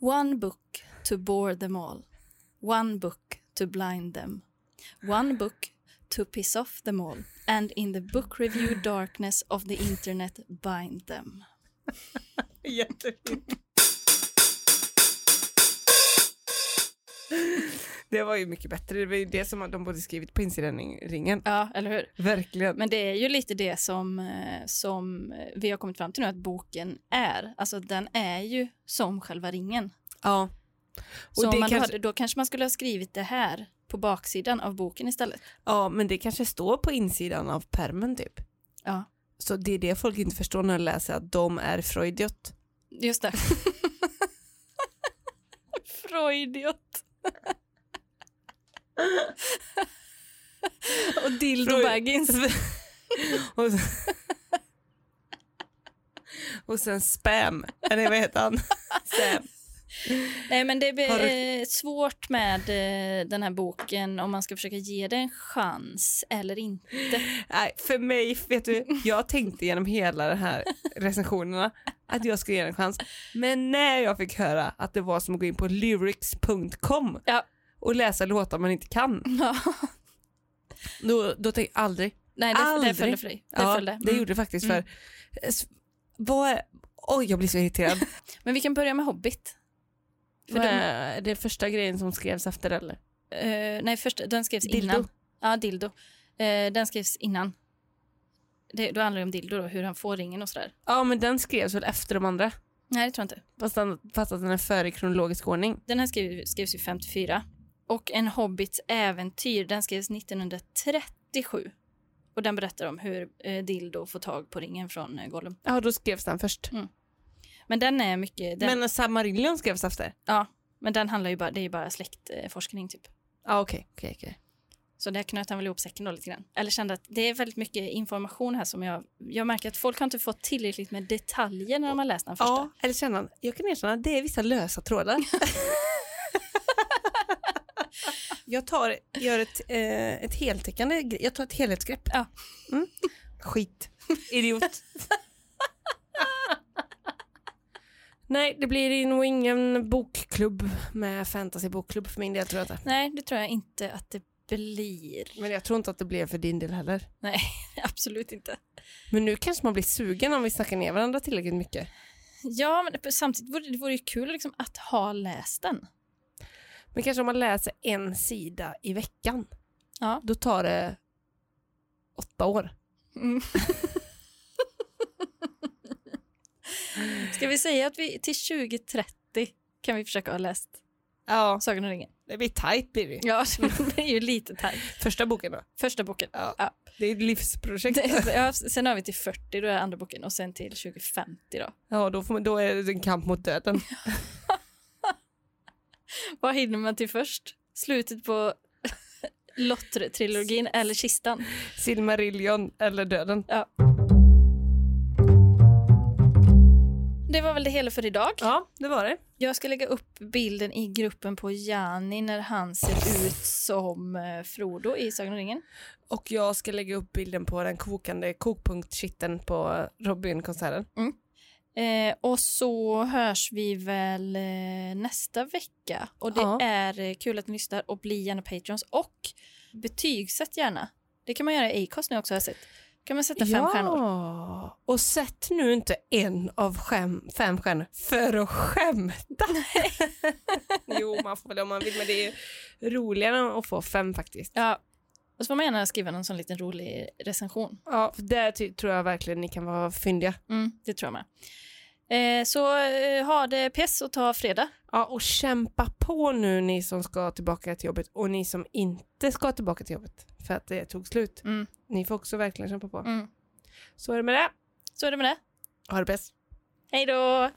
One book to bore them all. One book to blind them. One book to piss off them all. And in the book review darkness of the internet bind them. Jättefint. Det var ju mycket bättre. Det var ju det som de borde skrivit på insidan-ringen. Ja, eller hur? Verkligen. Men det är ju lite det som, eh, som eh, vi har kommit fram till nu att boken är. Alltså den är ju som själva ringen. Ja. Och Så om det man då kanske- hade, då kanske man skulle ha skrivit det här på baksidan av boken istället. ja, men det kanske står på insidan av permen typ. Ja, Så det är det folk inte förstår när de läser att de är Freudiot. just det. Freudiot. Och dildo Dildo baggins. Och så, Och sen Spam, eller vad heter han? Sam. Nej, men det Har är eh, svårt med eh, den här boken om man ska försöka ge det en chans eller inte. Nej, för mig, vet du, jag tänkte genom hela de här recensionerna att jag skulle ge den en chans. Men när jag fick höra att det var som att gå in på lyrics.com Ja. och läsa låtar man inte kan, Ja. då, då tänkte jag aldrig. Nej, det, det Aldrig. följde för dig. Det ja, följde. det Mm. gjorde det faktiskt för... S- Vad är... Oj, jag blir så irriterad. Men vi kan börja med Hobbit. För Vad de- är det första grejen som skrevs efter eller? Eh, nej, först, den skrevs Dildo. innan. Ja, dildo. Eh, den skrevs innan. Det, då handlar det om dildo, då, hur han får ringen och sådär. Ja, men den skrevs väl efter de andra? Nej, det tror jag inte. Fast, den, fast att den är före i kronologisk ordning. Den här skrev, skrevs ju 54. Och En hobbits äventyr, den skrevs 1937. Och den berättar om hur eh, dildo får tag på ringen från eh, Gollum. Ja, då skrevs den först. Men den är mycket... Den, men... Men Samarillion skrevs efter? Ja, men den handlar ju bara... Det är ju bara släktforskning, typ. Ja, okej. Okay, okay, Så där knöt han väl ihop säcken då lite grann. Eller kände att det är väldigt mycket information här som jag... Jag märker att folk har inte fått tillräckligt med detaljer när de har läst den första. Ja, eller känna, jag kan erkänna, det är vissa lösa trådar. jag tar, gör ett, eh, ett heltäckande, gre- jag tar ett helhetsgrepp. Ja. Mm. Skit. Idiot. Nej, det blir nog ingen bokklubb med fantasybokklubb för min del tror jag inte. Nej, det tror jag inte att det blir. Men jag tror inte att det blev för din del heller. Absolut inte. Men nu kanske man blir sugen om vi snackar ner varandra tillräckligt mycket. Ja, men samtidigt vore det vore ju kul liksom att ha läst den. Men kanske om man läser en sida i veckan. Ja. Då tar det åtta år. Mm. Ska vi säga att vi till 2030 kan vi försöka ha läst Ja, Sagan om ringen? det blir tajt blir det. Ja, det är ju lite tajt. Första boken då? Första boken. Ja. Ja. Det är ett livsprojekt. Det- ja, Sen har vi till 40, då är andra boken, och sen till 2050 då. Ja, då, får man, då är det en kamp mot döden. Vad hinner man till först? Slutet på Lottre-trilogin eller kistan? Silmarillion eller döden. Det var väl det hela för idag. Ja, det var det. Jag ska lägga upp bilden i gruppen på Jani när han ser ut som eh, Frodo i Sagan om ringen. Och jag ska lägga upp bilden på den kokande kokpunktskitten på Robin-konserten. Eh, och så hörs vi väl eh, nästa vecka. Och det Ja. är eh, kul att ni lyssnar och bli gärna patrons. Och betygsätt gärna. Det kan man göra i Acast nu också har jag sett. kan man sätta fem stjärnor. Ja, och sätt nu inte en av skäm, fem stjärnor för att skämta. jo, man får väl om man vill, men det är roligare att få fem faktiskt. Ja. Och så får man gärna skriva någon sån liten rolig recension. Ja, för där ty- tror jag verkligen ni kan vara fyndiga. Mm, det tror jag med. Eh, så eh, ha det pess och ta fredag. Ja, och kämpa på nu ni som ska tillbaka till jobbet och ni som inte ska tillbaka till jobbet för att det tog slut. Mm. Ni får också verkligen kämpa på. Mm. Så är det med det. Så är det med det. Ha det bäst. Hej då!